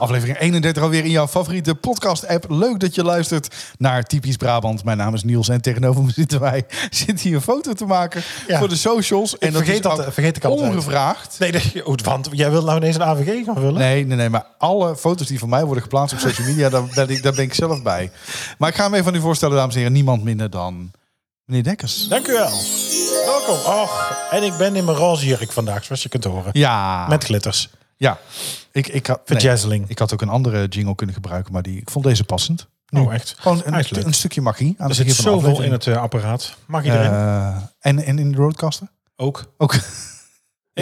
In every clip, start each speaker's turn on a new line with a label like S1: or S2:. S1: Aflevering 31 alweer in jouw favoriete podcast-app. Leuk dat je luistert naar Typisch Brabant. Mijn naam is Niels en tegenover me zitten wij zitten hier een foto te maken
S2: Ja.
S1: voor de socials. en
S2: vergeet
S1: is
S2: dat-
S1: ook
S2: vergeet ik altijd.
S1: Ongevraagd.
S2: Nee, dat- oh, want jij wilt nou ineens een AVG gaan vullen?
S1: Nee, nee, nee, maar alle foto's die van mij worden geplaatst op social media, daar, daar, daar ben ik zelf bij. Maar ik ga hem even aan u voorstellen, dames en heren. Niemand minder dan meneer Dekkers.
S2: Dank u wel. Welkom. Och, en ik ben in mijn roze jurk vandaag, zoals je kunt horen.
S1: Ja,
S2: Met glitters.
S1: ja. Ik, ik, had,
S2: Verjazzeling.
S1: ik had ook een andere jingle kunnen gebruiken, maar die, ik vond deze passend.
S2: Oh, echt?
S1: Gewoon een,
S2: Eigenlijk.
S1: een stukje magie aan
S2: Er
S1: het
S2: zit
S1: begin van de
S2: zoveel in
S1: aflevering.
S2: het eh, apparaat. Mag iedereen?
S1: Eh, en, en in de roadcaster?
S2: ook.
S1: Ook. ja.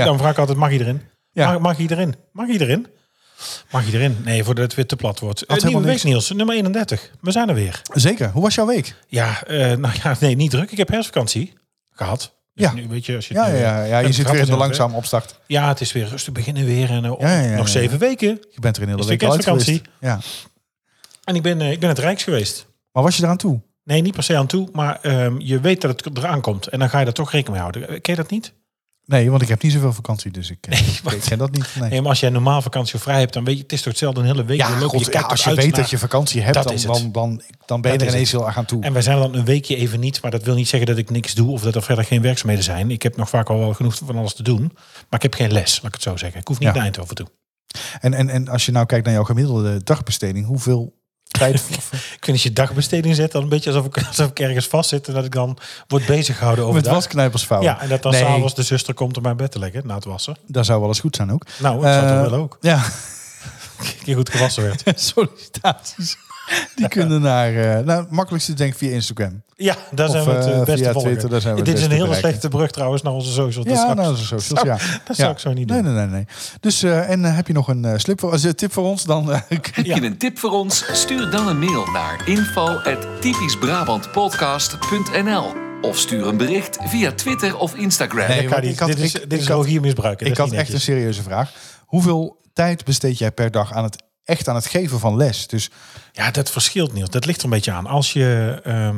S2: Ik dan vraag ik altijd, mag iedereen?
S1: Ja.
S2: Mag, mag iedereen? Mag iedereen? Mag iedereen? Nee, voordat het weer te plat wordt.
S1: Had
S2: Uh, nieuwe
S1: helemaal
S2: week, Niels. Nummer 31. We zijn er weer.
S1: Zeker. Hoe was jouw week?
S2: Ja, eh, nou ja, nee, niet druk. Ik heb herfstvakantie gehad. Dus
S1: Ja.
S2: Nu, weet je, als je
S1: Ja,
S2: het
S1: ja,
S2: nu-
S1: ja, ja. je
S2: het
S1: zit
S2: grappig
S1: weer in de
S2: zelf, hè?
S1: langzame opstart.
S2: Ja, het is weer rustig beginnen weer. En eh,
S1: Ja, ja, ja,
S2: nog
S1: ja.
S2: zeven weken.
S1: Je bent er in de
S2: Is
S1: hele week
S2: de
S1: al uit
S2: kerstvakantie?
S1: geweest. Ja.
S2: En ik ben, eh, ik ben het Rijks geweest.
S1: Maar was je eraan toe?
S2: Nee, niet per se aan toe, maar ehm, je weet dat het eraan komt. En dan ga je daar toch rekening mee houden. Eh, Ken je dat niet?
S1: Nee, want ik heb niet zoveel vakantie, dus ik, eh,
S2: wat?
S1: ik ken dat niet. Nee.
S2: Nee, maar als jij normaal vakantie of vrij hebt, dan weet je, het is toch hetzelfde een hele week.
S1: ja,
S2: Je loopt-
S1: god,
S2: je
S1: ja,
S2: kijkt
S1: als je
S2: eruit
S1: weet
S2: naar-
S1: dat je vakantie hebt,
S2: Dat
S1: dan,
S2: is het.
S1: dan, dan, dan ben je
S2: Dat
S1: er
S2: is
S1: ineens heel erg aan toe.
S2: En wij zijn er dan een weekje even niet, maar dat wil niet zeggen dat ik niks doe of dat er verder geen werkzaamheden zijn. Ik heb nog vaak al wel genoeg van alles te doen, maar ik heb geen les, laat ik het zo zeggen. Ik hoef niet
S1: Ja.
S2: naar Eindhoven toe.
S1: En, en, en als je nou kijkt naar jouw gemiddelde dagbesteding, hoeveel tijd...
S2: Ik vind als je dagbesteding zet, dan een beetje alsof ik, alsof ik ergens vastzit en dat ik dan word bezig gehouden over
S1: met wasknijpersfouten.
S2: Ja, en dat dan
S1: Nee.
S2: s'avonds de zuster komt om mijn bed te leggen na het wassen.
S1: Dat zou wel eens goed zijn ook.
S2: Nou, dat zou
S1: Eh,
S2: toch wel ook.
S1: Ja,
S2: Die goed gewassen werd.
S1: sollicitaties. Die kunnen naar... eh, nou, het makkelijkste denk ik via Instagram.
S2: Ja, daar
S1: Of,
S2: zijn we het eh,
S1: eh,
S2: beste
S1: via
S2: volgen.
S1: Twitter, daar zijn we het
S2: Dit is een
S1: beste
S2: hele
S1: bereiken.
S2: slechte brug trouwens naar onze socials. dus Dat
S1: ja,
S2: straks-
S1: nou, dat is zo. zo, ja.
S2: dat
S1: Ja.
S2: zou ik zo niet doen.
S1: Nee, nee, nee. nee. Dus, eh, en eh, heb je nog een eh, slip voor, als, eh, tip voor ons? Dan eh,
S3: Heb je
S2: Ja.
S3: een tip voor ons? Stuur dan een mail naar info.typischbrabantpodcast.nl of stuur een bericht via Twitter of Instagram.
S1: Nee.
S2: Dat kan
S1: want
S2: niet.
S1: ik had-
S2: dit is,
S1: ik-
S2: dit is
S1: ik had-
S2: logisch
S1: ik
S2: misbruiken. Dat is
S1: had
S2: niet
S1: echt een
S2: netjes.
S1: serieuze vraag. Hoeveel tijd besteed jij per dag aan het echt aan het geven van les? Dus
S2: Ja, dat verschilt, Niels. Dat ligt er een beetje aan. Als je, ehm,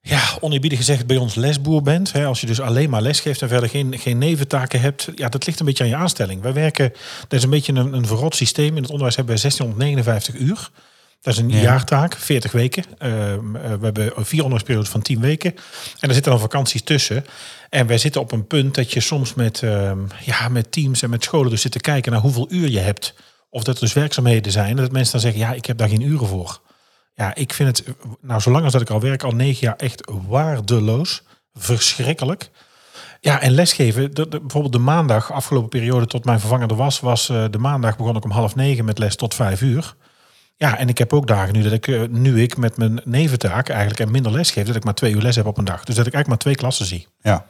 S2: ja, oneerbiedig gezegd, bij ons lesboer bent. Hè, als je dus alleen maar les geeft en verder geen, geen neventaken hebt. Ja, dat ligt een beetje aan je aanstelling. Wij werken, dat is een beetje een, een verrot systeem. In het onderwijs hebben we 1659 uur. Dat is een jaartaak, 40 weken. Ehm, eh, we hebben vier onderwijsperiodes van 10 weken. En er zitten dan vakanties tussen. En wij zitten op een punt dat je soms met, ehm, ja, met teams en met scholen dus zit te kijken naar hoeveel uur je hebt. Of dat er dus werkzaamheden zijn. En dat mensen dan zeggen, ja, ik heb daar geen uren voor. Ja, ik vind het, eh, nou zolang als dat ik al werk, al negen jaar echt waardeloos. Verschrikkelijk. Ja, en lesgeven, de, de- bijvoorbeeld de maandag, afgelopen periode tot mijn vervanger er was, was eh, de maandag begon ik om half negen met les tot vijf uur. Ja, en ik heb ook dagen nu dat ik, eh, nu ik met mijn neventaak eigenlijk en minder les geef, dat ik maar twee uur les heb op een dag. Dus dat ik eigenlijk maar twee klassen zie.
S1: ja,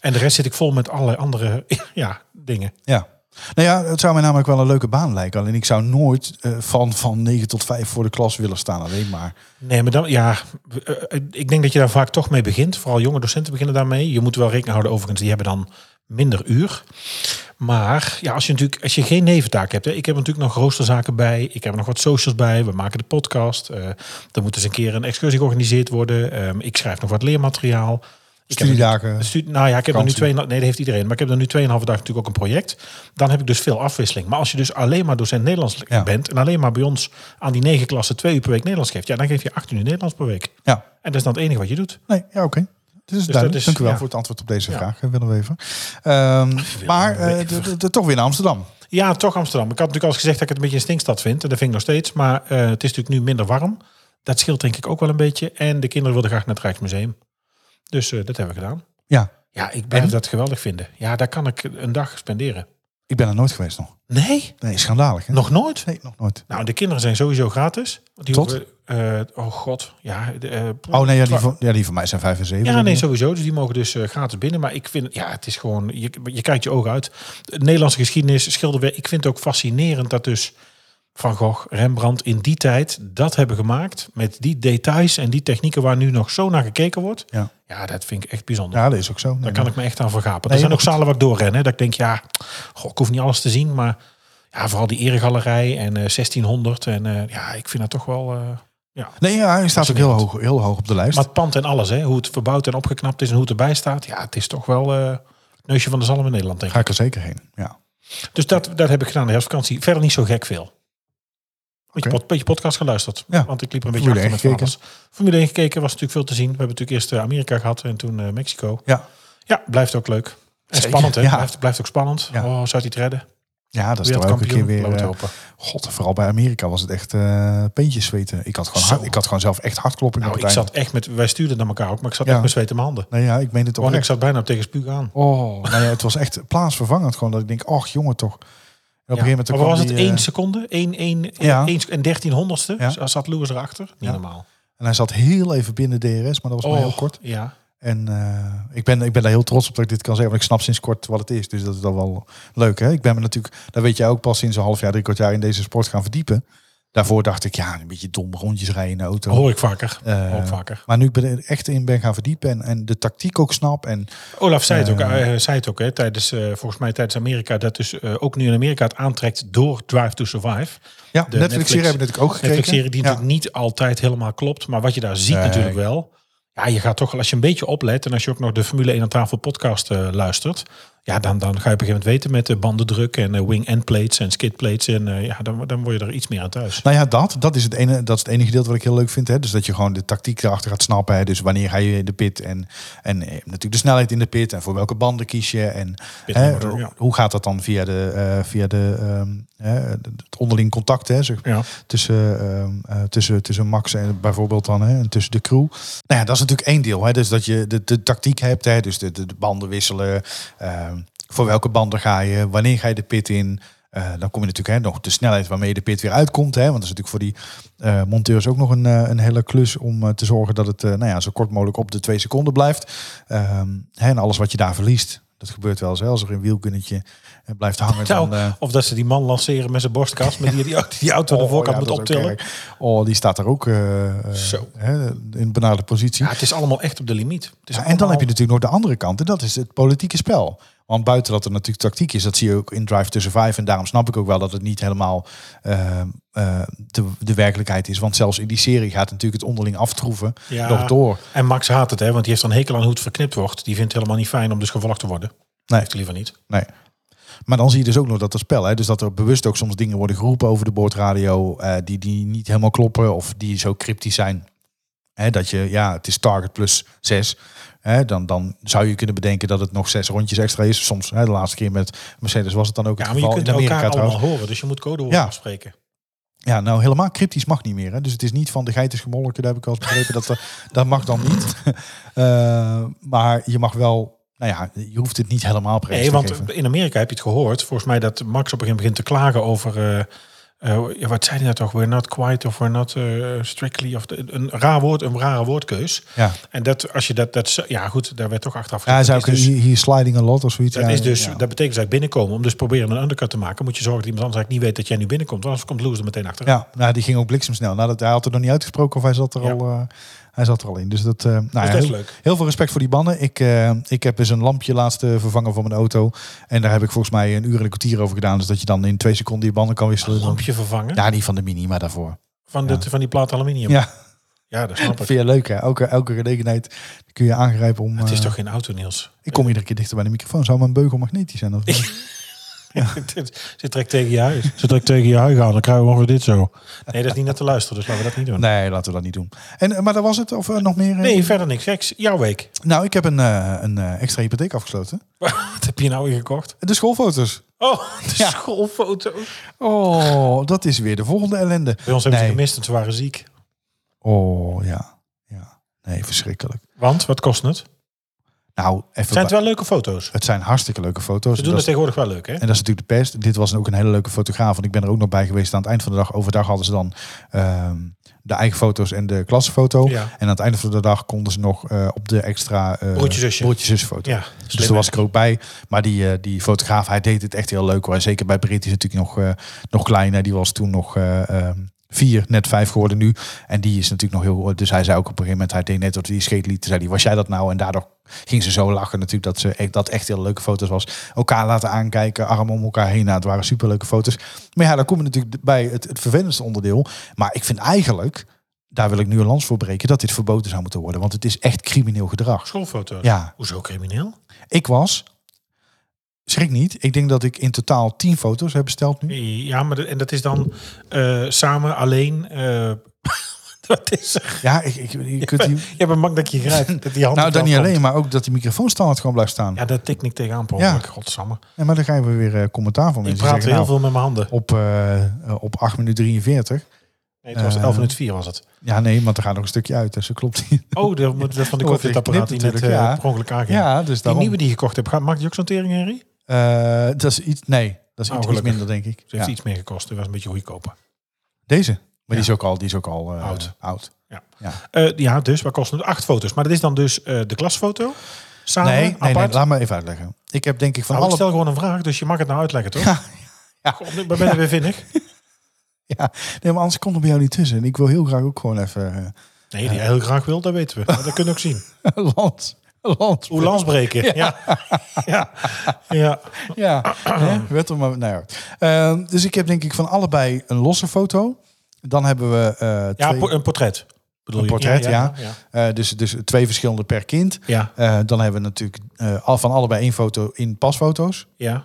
S2: En de rest zit ik vol met allerlei andere ja, dingen.
S1: ja. Nou ja, het zou mij namelijk wel een leuke baan lijken. Alleen ik zou nooit eh, van, van 9 tot 5 voor de klas willen staan. Alleen maar.
S2: Nee, maar dan, ja, eh, eh, ik denk dat je daar vaak toch mee begint. Vooral jonge docenten beginnen daarmee. Je moet wel rekening houden, overigens, die hebben dan minder uur. Maar ja, als je natuurlijk, als je geen neventaak hebt, hè, ik heb natuurlijk nog roosterzaken bij, ik heb nog wat socials bij, we maken de podcast. eh er moet eens een keer een excursie georganiseerd worden. ehm, ik schrijf nog wat leermateriaal. Ik heb
S1: Studiedagen.
S2: een stu- nou ja, ik heb er nu
S1: Vakantie.
S2: twee. Nee, dat heeft iedereen. Maar ik heb er nu 2,5 dag natuurlijk ook een project. Dan heb ik dus veel afwisseling. Maar als je dus alleen maar docent Nederlands
S1: Ja.
S2: bent. en alleen maar bij ons aan die negen klassen twee uur per week Nederlands geeft. ja, dan geef je 18 uur Nederlands per week.
S1: Ja,
S2: En dat is dan het enige wat je doet.
S1: nee, ja, oké. Dus
S2: dat
S1: duidelijk.
S2: is-
S1: Dank u wel
S2: ja.
S1: voor het antwoord op deze
S2: Ja.
S1: vraag, hè, Willem Wever. Ehm, maar eh,
S2: Wever.
S1: d- d- d- toch weer naar Amsterdam.
S2: Ja, toch Amsterdam. Ik had natuurlijk al eens gezegd dat ik het een beetje een stinkstad vind. En dat vind ik nog steeds. Maar eh, het is natuurlijk nu minder warm. Dat scheelt denk ik ook wel een beetje. En de kinderen wilden graag naar het Rijksmuseum. Dus eh, dat hebben we gedaan.
S1: Ja,
S2: Ja, ik blijf
S1: En?
S2: dat geweldig vinden. Ja, daar kan ik een dag spenderen.
S1: ik ben er nooit geweest nog.
S2: Nee,
S1: Nee, schandalig. Hè?
S2: nog nooit.
S1: Nee, nog nooit.
S2: Nou, de kinderen zijn sowieso gratis. Want Die
S1: Tot?
S2: hoeven, eh, oh god, ja. de, eh,
S1: Oh nee, ja, die van, ja, die van mij zijn 5 en 7.
S2: ja, nee, sowieso. Dus die mogen dus eh, gratis binnen. Maar ik vind, ja, het is gewoon, je, je kijkt je ogen uit. De Nederlandse geschiedenis, schilderwerk. Ik vind het ook fascinerend dat dus Van Gogh, Rembrandt in die tijd dat hebben gemaakt. Met die details en die technieken waar nu nog zo naar gekeken wordt.
S1: Ja.
S2: Ja, dat vind ik echt bijzonder.
S1: Ja, dat is ook zo. Nee,
S2: Daar kan ik me echt aan
S1: Nee,
S2: vergapen. er zijn
S1: maar
S2: ook zalen waar ik doorren. Hè, dat ik denk, ja, goh, ik hoef niet alles te zien. Maar ja, vooral die eregalerij en eh, 1600. En eh, ja, ik vind dat toch wel... eh, ja.
S1: Nee, ja, hij staat ook heel hoog, heel hoog op de lijst.
S2: Maar het pand en alles, hè, hoe het verbouwd en opgeknapt is en hoe het erbij staat. Ja, het is toch wel eh, het neusje van de zalm in Nederland, denk ik.
S1: Ga ik er zeker heen. Ja.
S2: Dus dat, dat heb ik gedaan de herfstvakantie. Verder niet zo gek veel. Een beetje,
S1: Oké.
S2: pod- beetje podcast geluisterd.
S1: Ja.
S2: Want ik liep er een beetje
S1: Formule
S2: achter met van
S1: 1
S2: alles. Formule 1 gekeken was natuurlijk veel te zien. We hebben natuurlijk eerst eh, Amerika gehad en toen eh, Mexico.
S1: Ja.
S2: Ja, blijft ook leuk. En
S1: Zeker,
S2: spannend, hè?
S1: ja.
S2: Blijft, blijft ook spannend.
S1: Ja.
S2: Oh, zou hij het redden?
S1: ja, dat is toch ook een keer
S2: Wereldkampioen,
S1: weer...
S2: laten we het
S1: eh,
S2: hopen.
S1: God, vooral bij Amerika was het echt eh, peentjes zweten. Ik had, gewoon
S2: Zo.
S1: hard- ik had gewoon zelf echt hartkloppingen.
S2: Nou,
S1: op
S2: ik
S1: het
S2: zat echt met... Wij stuurden naar elkaar ook, maar ik zat
S1: Ja.
S2: echt met zweet in mijn handen.
S1: einde. Nee, ja, ik meen het ook
S2: Want ik
S1: echt.
S2: zat bijna op tegen spuug aan.
S1: Oh, nou ja, het was echt plaatsvervangend gewoon. Dat ik denk, ach jongen toch. En op een gegeven moment
S2: maar
S1: kwam
S2: was het
S1: die, eh,
S2: één seconde? Eén, één,
S1: Ja.
S2: één, en dertienhonderdste?
S1: Ja.
S2: Ja. Zat Lewis erachter? Niet
S1: Ja.
S2: normaal.
S1: En hij zat heel even binnen DRS, maar dat
S2: Oh.
S1: was maar heel kort.
S2: Ja.
S1: En eh, ik, ben, ik ben daar heel trots op dat ik dit kan zeggen. Want ik snap sinds kort wat het is. Dus dat is dan wel leuk. Hè? Ik ben me natuurlijk, daar weet jij ook pas sinds een half jaar, drie kwart jaar in deze sport gaan verdiepen. Daarvoor dacht ik, ja, een beetje dom rondjes rijden in de auto.
S2: Hoor ik vaker.
S1: Eh,
S2: Hoor ik vaker.
S1: Maar nu ik ben er echt in ben gaan verdiepen en, en de tactiek ook snap. En
S2: Olaf zei het ook,
S1: Eh,
S2: eh, zei het ook hè, tijdens, eh, volgens mij tijdens Amerika, dat dus eh, ook nu in Amerika het aantrekt door Drive to Survive.
S1: ja, de Netflix-serie
S2: Netflix-
S1: hebben we natuurlijk ook
S2: Een
S1: gekeken.
S2: Netflix-serie die
S1: ja.
S2: natuurlijk niet altijd helemaal klopt, maar wat je daar ziet
S1: Nee.
S2: natuurlijk wel. Ja, je gaat toch, wel- als je een beetje oplet en als je ook nog de Formule 1 aan tafel podcast eh, luistert, ja, dan, dan ga je op een gegeven moment weten met de bandendruk en eh, wing end plates en skid plates en eh, ja, dan, dan word je er iets meer aan thuis.
S1: Nou ja, dat, dat, is het ene, dat is het enige gedeelte wat ik heel leuk vind. Hè? Dus dat je gewoon de tactiek erachter gaat snappen. Hè? Dus wanneer ga je in de pit en, en eh, natuurlijk de snelheid in de pit. En voor welke banden kies je. En hè,
S2: Pitnummer, ja.
S1: hoe gaat dat dan via, de, eh, via de, ehm, hè, het onderling contact hè, zeg,
S2: Ja.
S1: tussen, ehm, eh, tussen, tussen Max en bijvoorbeeld dan hè, en tussen de crew. Nou ja, dat is natuurlijk één deel. Hè? Dus dat je de, de tactiek hebt, hè? dus de, de, de banden wisselen. ehm, voor welke banden ga je? Wanneer ga je de pit in? Eh, dan kom je natuurlijk hè, nog de snelheid waarmee je de pit weer uitkomt. Hè? Want dat is natuurlijk voor die eh, monteurs ook nog een, eh, een hele klus om eh, te zorgen dat het eh, nou ja, zo kort mogelijk op de twee seconden blijft. Ehm, hè, en alles wat je daar verliest, dat gebeurt wel eens. Hè? Als er een wielkunnetje eh, blijft hangen.
S2: Nou,
S1: dan, eh,
S2: of dat ze die man lanceren met zijn borstkast, met die, die, die auto aan de voorkant
S1: Oh, ja,
S2: moet
S1: dat is ook
S2: optillen.
S1: erg. Oh, die staat er ook eh, eh,
S2: Zo.
S1: hè, in benarde positie.
S2: Ja, het is allemaal echt op de limiet. Het is
S1: Ja, en dan
S2: allemaal-
S1: heb je natuurlijk nog de andere kant. En dat is het politieke spel. Want buiten dat er natuurlijk tactiek is, dat zie je ook in Drive to Survive. En daarom snap ik ook wel dat het niet helemaal eh, eh, de, de werkelijkheid is. Want zelfs in die serie gaat natuurlijk het onderling aftroeven
S2: Ja.
S1: nog door.
S2: En Max haat het, hè, want die heeft een hekel aan hoe het verknipt wordt. Die vindt het helemaal niet fijn om dus gevolgd te worden.
S1: Nee.
S2: Heeft hij liever niet.
S1: Nee. Maar dan zie je dus ook nog dat dat spel, hè, dus dat er bewust ook soms dingen worden geroepen over de boordradio eh, die, die niet helemaal kloppen of die zo cryptisch zijn. Hè, dat je, ja, het is target plus 6. Hè, dan, dan zou je kunnen bedenken dat het nog zes rondjes extra is. Soms, hè, de laatste keer met Mercedes was het dan ook
S2: Ja,
S1: het
S2: maar je
S1: geval.
S2: kunt
S1: in Amerika
S2: elkaar
S1: trouwens.
S2: allemaal horen, dus je moet codewoorden
S1: Ja.
S2: afspreken.
S1: Ja, nou helemaal cryptisch mag niet meer. Hè? Dus het is niet van de geit is gemolken, daar heb ik wel eens begrepen. dat, er- dat mag dan niet. Eh, maar je mag wel, nou ja, je hoeft het niet helemaal prijs
S2: Nee,
S1: te
S2: want
S1: geven.
S2: in Amerika heb je het gehoord. Volgens mij dat Max op een gegeven moment begint te klagen over... eh, eh, ja, wat zei hij nou toch? We're not quite of we're not eh, strictly. Of de- een raar woord, een rare woordkeus.
S1: Ja.
S2: En dat als je dat... dat zo- ja goed, daar werd toch achteraf
S1: Ja, hij
S2: gezegd,
S1: zei ook
S2: dat is dus-
S1: hier, hier sliding a lot of zoiets.
S2: Dat,
S1: ja,
S2: is dus,
S1: ja.
S2: dat betekent dat binnenkomen. Om dus proberen een undercut te maken, moet je zorgen dat iemand anders eigenlijk niet weet dat jij nu binnenkomt. Anders komt Lewis er meteen achteraan.
S1: Ja, nou, die ging ook bliksemsnel. Nou, dat, hij had het nog niet uitgesproken of hij zat er,
S2: Ja.
S1: al, eh, hij zat er al in. Dus dat, eh nou ja,
S2: dat is
S1: heel,
S2: leuk.
S1: heel veel respect voor die mannen. Ik, eh, ik heb eens een lampje laatst eh, vervangen van mijn auto. En daar heb ik volgens mij een uur en een kwartier over gedaan. Dus dat je dan in twee seconden je banden kan wisselen.
S2: Een lampje vervangen
S1: Ja, niet van de mini, maar daarvoor.
S2: van, dit, van die plaat aluminium. Ja,
S1: Ja,
S2: dat snap
S1: dat
S2: ik.
S1: vind je leuk hè. Elke, elke gelegenheid kun je aangrijpen om...
S2: Het is
S1: eh,
S2: toch geen auto, Niels?
S1: Ik kom iedere keer dichter bij de microfoon. Zou mijn beugel magnetisch zijn? Of niet?
S2: Ze trekt tegen je huis. Ze trekt tegen je huis aan, dan krijgen we ongeveer dit zo. Nee, dat is niet naar te luisteren, dus laten we dat niet doen. Nee,
S1: nee, laten we dat niet doen. En, eh, maar dat was het? Of eh, nog meer? eh?
S2: verder niks geks. Jouw week.
S1: Nou, ik heb een, eh, een eh, extra hypotheek afgesloten.
S2: Wat heb je nou weer gekocht?
S1: De schoolfoto's.
S2: Oh, de
S1: Ja.
S2: schoolfoto.
S1: Oh, dat is weer de volgende ellende.
S2: Bij ons hebben ze
S1: Nee.
S2: gemist en ze waren ziek.
S1: Oh, ja. ja. Nee, verschrikkelijk.
S2: Want, wat kost het?
S1: Nou, even
S2: Zijn het
S1: bij-
S2: wel leuke foto's?
S1: het zijn hartstikke leuke foto's.
S2: Ze doen
S1: Dat
S2: het
S1: is-
S2: tegenwoordig wel leuk, hè?
S1: en dat is natuurlijk de pest. Dit was ook een hele leuke fotograaf. Want ik ben er ook nog bij geweest. Aan het eind van de dag, overdag hadden ze dan ehm, de eigen foto's en de klassenfoto.
S2: Ja.
S1: En aan het einde van de dag konden ze nog eh, op de extra eh
S2: Broertje, zusje.
S1: broertje-zusfoto.
S2: Ja,
S1: Dus
S2: slim,
S1: daar
S2: hè?
S1: was ik er ook bij. Maar die, eh, die fotograaf, hij deed het echt heel leuk. Hoor. Zeker bij Brit is het natuurlijk nog, eh, nog klein. hè. Die was toen nog eh, eh, vier, net vijf geworden nu. En die is natuurlijk nog heel... Dus hij zei ook op een gegeven moment, hij deed net dat hij die scheet liet. Toen zei hij, was jij dat nou? En daardoor ging ze zo lachen natuurlijk dat ze echt, dat echt heel leuke foto's was. Elkaar laten aankijken, armen om elkaar heen. Nou, het waren superleuke foto's. Maar ja, dan kom je natuurlijk bij het, het vervelendste onderdeel. Maar ik vind eigenlijk, daar wil ik nu een lans voor breken, dat dit verboden zou moeten worden. Want het is echt crimineel gedrag.
S2: Schoolfoto's.
S1: Ja,
S2: Hoezo crimineel?
S1: ik was, schrik niet, ik denk dat ik in totaal tien foto's heb besteld nu.
S2: Ja, maar de- en dat is dan eh, samen, alleen. eh, wat is er?
S1: Ja, ik, ik, je kunt die,
S2: Je hebt een bang dat je grijpt. Dat die hand
S1: nou
S2: er wel
S1: dan niet
S2: komt.
S1: alleen, maar ook dat die microfoon standaard gewoon blijft staan.
S2: Ja, daar tik ik tegenaan, Paul.
S1: Ja.
S2: Ja. Godsamme.
S1: En maar dan gaan we weer eh, commentaar van
S2: Ik
S1: mensen.
S2: praat
S1: zeggen, nou,
S2: heel veel met mijn handen.
S1: op, eh, eh, op 8 minuten 43.
S2: Nee, het was
S1: Eh,
S2: 11 minuten 4 was het.
S1: Ja, nee, want er gaat nog een stukje uit, dus dat klopt niet.
S2: Oh, dat moet dat van de
S1: Oh, dat
S2: koffietapparaat die
S1: geknipt
S2: net eh
S1: natuurlijk, ja.
S2: per ongeluk aanging.
S1: Ja, dus
S2: die
S1: daarom.
S2: nieuwe die je gekocht hebt, gaat- maakt die ook zo'n tering, Henry? Die
S1: Eh, dat is iets, nee, dat is
S2: Oh,
S1: iets, iets
S2: gelukkig.
S1: minder, denk ik.
S2: heeft
S1: Ja.
S2: iets meer gekost. Die was een beetje goedkoper.
S1: Deze. Maar die is ook al, die is ook al eh,
S2: Oud.
S1: oud.
S2: Eh ja, dus waar kosten het? Acht foto's. Maar dat is dan dus eh, de klasfoto? Samen,
S1: nee, nee,
S2: apart?
S1: nee, laat me even uitleggen. Ik heb denk ik van
S2: Nou, ik
S1: alle...
S2: stel gewoon een vraag, dus je mag het nou uitleggen, toch?
S1: Ja, ja.
S2: Goh, ik ben er weer vinnig.
S1: Ja, nee, maar anders komt er bij jou niet tussen. En ik wil heel graag ook gewoon even...
S2: Nee, die heel graag wil, dat weten we. Maar dat kunnen we ook zien.
S1: eh, land. Land.
S2: Hoe lans breken. Ja. Ja. ja.
S1: Ja, hè, werd er maar... Nou ja. Eh, dus ik heb denk ik van allebei een losse foto. Dan hebben we eh,
S2: Ja,
S1: twee...
S2: po- een portret. Bedoel
S1: Een
S2: je?
S1: portret, ja.
S2: Ja.
S1: eh, dus, dus twee verschillende per kind.
S2: ja.
S1: Eh, dan hebben we natuurlijk eh, al van allebei één foto in pasfoto's.
S2: ja.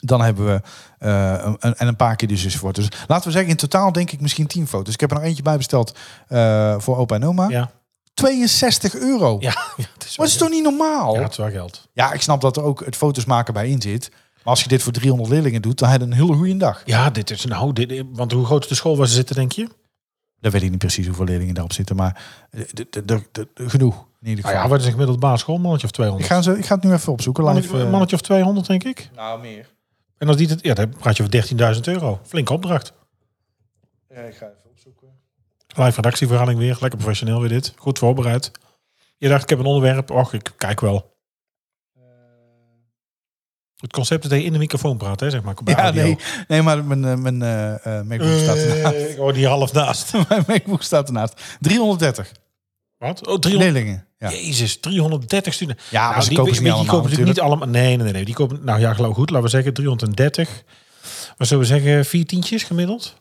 S1: Dan hebben we eh, een- een, en een paar keer dus dus voor. Dus laten we zeggen, in totaal denk ik misschien tien foto's. Ik heb er nog eentje bij besteld eh, voor opa en oma.
S2: Ja.
S1: 62 euro.
S2: Ja, ja, het is
S1: Maar
S2: wel,
S1: dat is toch niet normaal?
S2: ja,
S1: Ja.
S2: het is wel geld.
S1: ik snap dat er ook het foto's maken bij in zit. Maar als je dit voor 300 leerlingen doet, dan heb je een hele goede dag.
S2: Ja, dit is nou, dit, want hoe groot is de school waar ze zitten, denk
S1: Ah,
S2: je?
S1: Dan weet ik niet precies hoeveel leerlingen daarop zitten, maar eh, d- d- d- d- genoeg. In ieder
S2: Nou
S1: geval.
S2: ja, wat is een gemiddeld basisschool? Mannetje of
S1: ik,
S2: 200?
S1: ga ze, ik ga het nu even opzoeken. Live,
S2: Mannetje,
S1: eh,
S2: mannetje of 200, denk ik.
S1: nou, meer.
S2: En als die het, ja, dan praat je over 13.000 euro. Flinke opdracht.
S1: Ja, ik ga even opzoeken.
S2: Live redactieverhaling weer. Lekker professioneel weer dit. Goed voorbereid. Je dacht, ik heb een onderwerp. Och, ik kijk wel.
S1: Eh.
S2: Het concept is dat je in de microfoon praat, hè, zeg maar. bij
S1: Ja,
S2: audio.
S1: nee, nee, maar mijn, eh, mijn eh, eh, MacBook staat ernaast.
S2: Eh, ik hoor die half naast.
S1: Mijn MacBook staat ernaast. 330
S2: Wat? Oh, 300.
S1: leerlingen. Ja,
S2: Jezus, 330 studenten.
S1: ja maar
S2: Nou,
S1: ze
S2: die,
S1: kopen
S2: weet
S1: ze niet
S2: je, die
S1: allemaal
S2: kopen ze
S1: natuurlijk.
S2: niet allemaal. Nee, nee, nee, nee. Die kopen, nou ja, geloof goed. Laten we zeggen 330. Wat zullen we zeggen? Vier tientjes gemiddeld?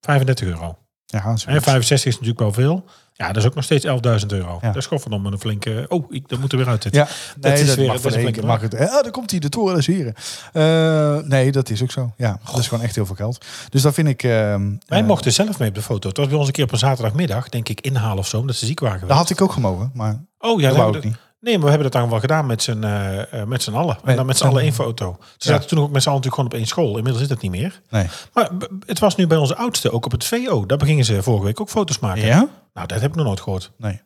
S2: 35 euro.
S1: Ja,
S2: En
S1: zoiets.
S2: 65 is natuurlijk wel veel. Ja, dat is ook nog steeds 11.000 euro.
S1: Ja.
S2: Dat is gewoon met een flinke... Oh, ik, dat moet er weer uit. dit.
S1: ja, nee, dat,
S2: is weer-
S1: mag
S2: dat
S1: voor
S2: is
S1: één
S2: een
S1: keer
S2: flinke
S1: mag het. Ah, daar komt hij, de toren des heren. Eh, nee, dat is ook zo. Ja, dat is gewoon echt heel veel geld. Dus dat vind ik... ehm,
S2: Wij
S1: eh,
S2: mochten zelf mee op de foto. Het was bij ons een keer op een zaterdagmiddag, denk ik, inhalen of zo, omdat ze ziek waren
S1: dat
S2: geweest.
S1: had ik ook gemogen, maar dat
S2: oh ja,
S1: wou
S2: we hebben
S1: ik
S2: dat-
S1: niet.
S2: nee, maar we hebben dat dan wel gedaan met z'n eh, eh, met z'n allen.
S1: Met
S2: en dan met z'n
S1: z'n
S2: allen één
S1: allen.
S2: foto. Ze
S1: Ja.
S2: zaten toen ook met z'n allen natuurlijk gewoon op één school. Inmiddels is dat niet meer.
S1: Nee.
S2: Maar b- het was nu bij onze oudste, ook op het VO. Daar begingen ze vorige week ook foto's maken.
S1: Ja?
S2: Nou, dat heb ik nog nooit gehoord.
S1: Nee.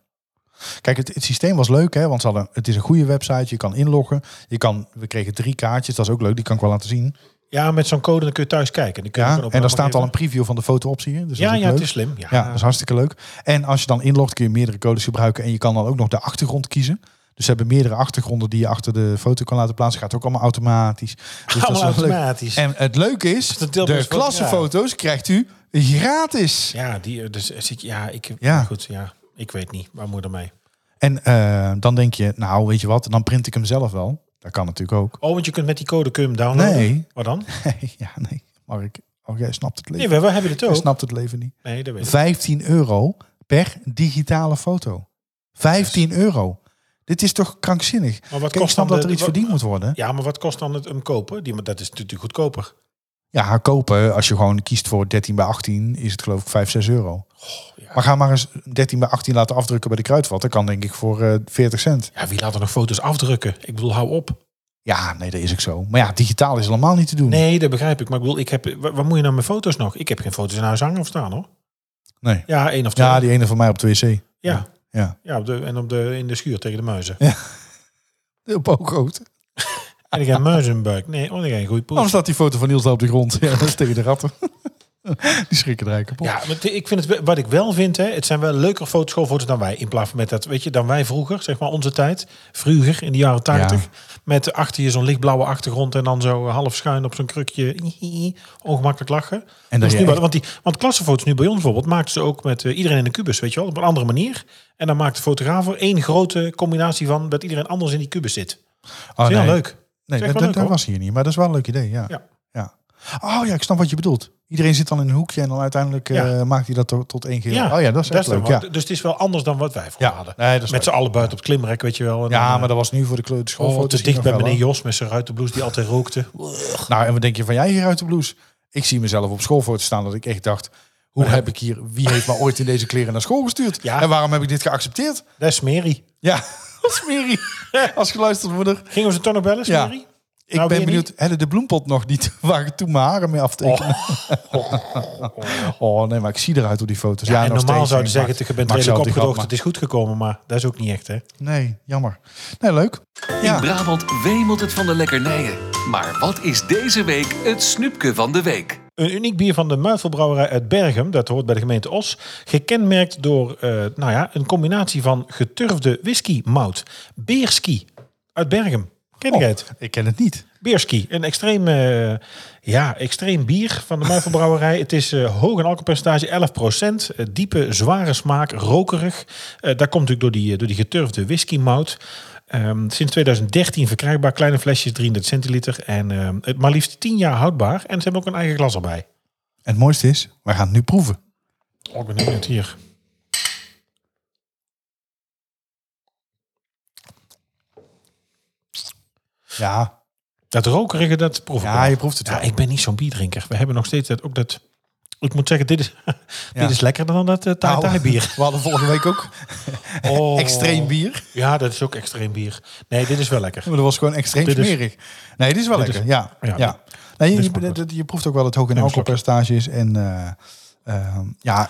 S1: Kijk, het, het systeem was leuk, hè? Want ze hadden, het is een goede website. Je kan inloggen. Je kan, we kregen drie kaartjes. Dat is ook leuk. Die kan ik wel laten zien.
S2: Ja, met zo'n code dan kun je thuis kijken. Die kun je
S1: Ja,
S2: gewoon op
S1: en daar
S2: allemaal
S1: staat al een
S2: geven.
S1: preview van de foto op, zie je. Dus dat
S2: Ja,
S1: is ook
S2: ja, het
S1: leuk.
S2: is slim. Ja,
S1: Ja, dat is hartstikke leuk. En als je dan inlogt, kun je meerdere codes gebruiken. En je kan dan ook nog de achtergrond kiezen. Dus ze hebben meerdere achtergronden die je achter de foto kan laten plaatsen. Gaat ook allemaal automatisch. Dus dat is
S2: allemaal
S1: wel leuk.
S2: automatisch.
S1: En het leuke is,
S2: Dat deelt
S1: de
S2: dus fotograaf.
S1: klassenfoto's krijgt u gratis.
S2: Ja, die, eh, dus, eh, zie ik- ja, ik,
S1: Ja.
S2: Goed, ja, ik weet niet. Waar moet er mee?
S1: En eh, dan denk je, nou weet je wat, dan print ik hem zelf wel. Dat kan natuurlijk ook.
S2: Oh, want je kunt met die code kun je hem downloaden.
S1: Nee.
S2: Wat dan?
S1: ja, nee, Mark. Oh, jij snapt het
S2: Nee,
S1: leven.
S2: we, we hebben het
S1: Jij
S2: ook.
S1: snapt het leven niet.
S2: Nee, dat weet ik.
S1: 15 euro per digitale foto. 15 euro. Dit is toch krankzinnig?
S2: Maar wat
S1: Kijk, ik
S2: kost dan
S1: snap dat
S2: de-
S1: er iets
S2: wa-
S1: verdiend moet worden.
S2: Ja, maar wat kost dan het hem kopen? Die, maar dat is natuurlijk goedkoper.
S1: Ja, kopen, als je gewoon kiest voor 13 bij 18, is het geloof ik 5, 6 euro.
S2: ja.
S1: Maar ga maar eens 13 bij 18 laten afdrukken bij de kruidvat. Dat kan denk ik voor eh 40 cent.
S2: Ja, wie laat er nog foto's afdrukken? Ik bedoel, hou op.
S1: Ja, nee, dat is ook zo. Maar ja, digitaal is helemaal niet te doen.
S2: Nee, dat begrijp ik. Maar ik bedoel, ik heb, wa- wat, moet je nou met foto's nog? Ik heb geen foto's in huis hangen of staan hoor.
S1: Nee.
S2: Ja, één of twee.
S1: Ja, die ene van mij op de wc.
S2: ja.
S1: Ja.
S2: Ja, op de, en op de, in de schuur tegen de muizen.
S1: Op oogrood.
S2: En ik heb muizen in mijn buik. Nee, oh, ik heb een goede poes.
S1: Anders staat die foto van Niels daar op de grond. Ja, dat is tegen de ratten. Die schrikken er eigenlijk kapot.
S2: Ja, maar ik vind het, wel- wat ik wel vind, hè, het zijn wel leuker fotoschoolfoto's dan wij. In plaats van met dat, weet je, dan wij vroeger, zeg maar onze tijd. Vroeger, in de jaren tachtig.
S1: Ja.
S2: Met achter je zo'n lichtblauwe achtergrond en dan zo half schuin op zo'n krukje. Ongemakkelijk lachen.
S1: dan
S2: En dat is
S1: je
S2: nu wel,
S1: echt-
S2: want, die, want klassenfoto's nu bij ons bijvoorbeeld maakten ze ook met eh, iedereen in de kubus, weet je wel, op een andere manier. En dan maakt de fotograaf er één grote combinatie van dat iedereen anders in die kubus zit.
S1: Oh,
S2: dat is heel
S1: nee.
S2: leuk.
S1: Nee, dat,
S2: Zeg maar
S1: dat-
S2: leuk,
S1: dat
S2: hoor.
S1: was hier niet. Maar dat is wel een leuk idee, ja.
S2: Ja.
S1: Ja. Oh ja, ik snap wat je bedoelt. Iedereen zit dan in een hoekje en dan uiteindelijk eh,
S2: Ja.
S1: maakt hij dat tot, tot één geheel. oh ja, dat is echt
S2: dan
S1: leuk.
S2: wel.
S1: Ja.
S2: Dus het is wel anders dan wat wij vroeger
S1: Ja,
S2: hadden.
S1: nee, dat is
S2: met z'n
S1: leuk.
S2: allen buiten op het klimrek, weet je wel. En dan,
S1: ja,
S2: eh,
S1: maar dat was nu voor de kleur de
S2: Oh,
S1: schoolfoto's
S2: te
S1: hier
S2: dicht
S1: nog
S2: bij
S1: wel,
S2: meneer
S1: hoor.
S2: Jos met zijn ruitenblouse die altijd rookte.
S1: Nou, en wat denk je van jij hier uit de blouse? Ik zie mezelf op schoolfoto's staan dat ik echt dacht... Hoe heb ik hier, wie heeft me ooit in deze kleren naar school gestuurd?
S2: Ja.
S1: En waarom heb ik dit geaccepteerd?
S2: Dat is Smerie.
S1: Ja, smerie. Als geluisterd moeder.
S2: Gingen we ze toch nog bellen,
S1: Ja.
S2: Smerie?
S1: Ik
S2: Nou,
S1: ben
S2: weer
S1: benieuwd, hadden de bloempot nog niet waar ik toen mijn haren mee aftekende? Oh. nee, maar ik zie eruit op die foto's. Ja,
S2: en
S1: nog
S2: normaal
S1: steeds. Ik
S2: zouden ze zeggen,
S1: maak-
S2: je bent
S1: maak
S2: redelijk
S1: zelf die grap,
S2: opgedoogd, het is goed gekomen, maar dat is ook niet echt, hè?
S1: maar- Nee, jammer. Nee, leuk.
S3: In
S1: Ja,
S3: Brabant wemelt het van de lekkernijen. Maar wat is deze week het snoepje van de week?
S2: Een uniek bier van de Muifelbrouwerij uit Bergen, dat hoort bij de gemeente Os. Gekenmerkt door eh, nou ja, een combinatie van geturfde whisky-mout. Beerski uit Bergen. Ken
S1: Oh,
S2: ik het?
S1: ik ken het niet.
S2: Beerski, een extreem, eh, ja, extreem bier van de Muifelbrouwerij. het is eh, hoog in alcoholpercentage, 11 Eh, diepe, zware smaak, rokerig. Eh, dat komt natuurlijk door die, eh, door die geturfde whisky-mout. Ehm, sinds 2013 verkrijgbaar, kleine flesjes, 33 centiliter. En ehm, het maar liefst 10 jaar houdbaar. En ze hebben ook een eigen glas erbij.
S1: En het mooiste is, wij gaan het nu proeven.
S2: Oh, ik ben heel benieuwd hier.
S1: Ja,
S2: Dat rokerige, dat proef ik
S1: ja
S2: wel.
S1: je proeft het wel.
S2: Ja, ik ben niet zo'n bierdrinker. We hebben nog steeds dat, ook dat... Ik moet zeggen, dit is,
S1: Ja.
S2: dit is lekkerder dan dat eh
S1: Nou,
S2: Thai-Thai bier.
S1: We hadden vorige week ook
S2: Oh.
S1: extreem bier.
S2: Ja, dat is ook extreem bier. Nee, dit is wel lekker.
S1: Maar dat was gewoon extreem
S2: Dit is-
S1: smerig. Nee, dit is wel
S2: dit is-
S1: lekker. ja, ja.
S2: ja,
S1: Nee,
S2: dit is
S1: je,
S2: makkelijk.
S1: dat- je proeft ook wel het hoog in
S2: Ja, makkelijk.
S1: alcoholpercentage is. En eh, eh, ja,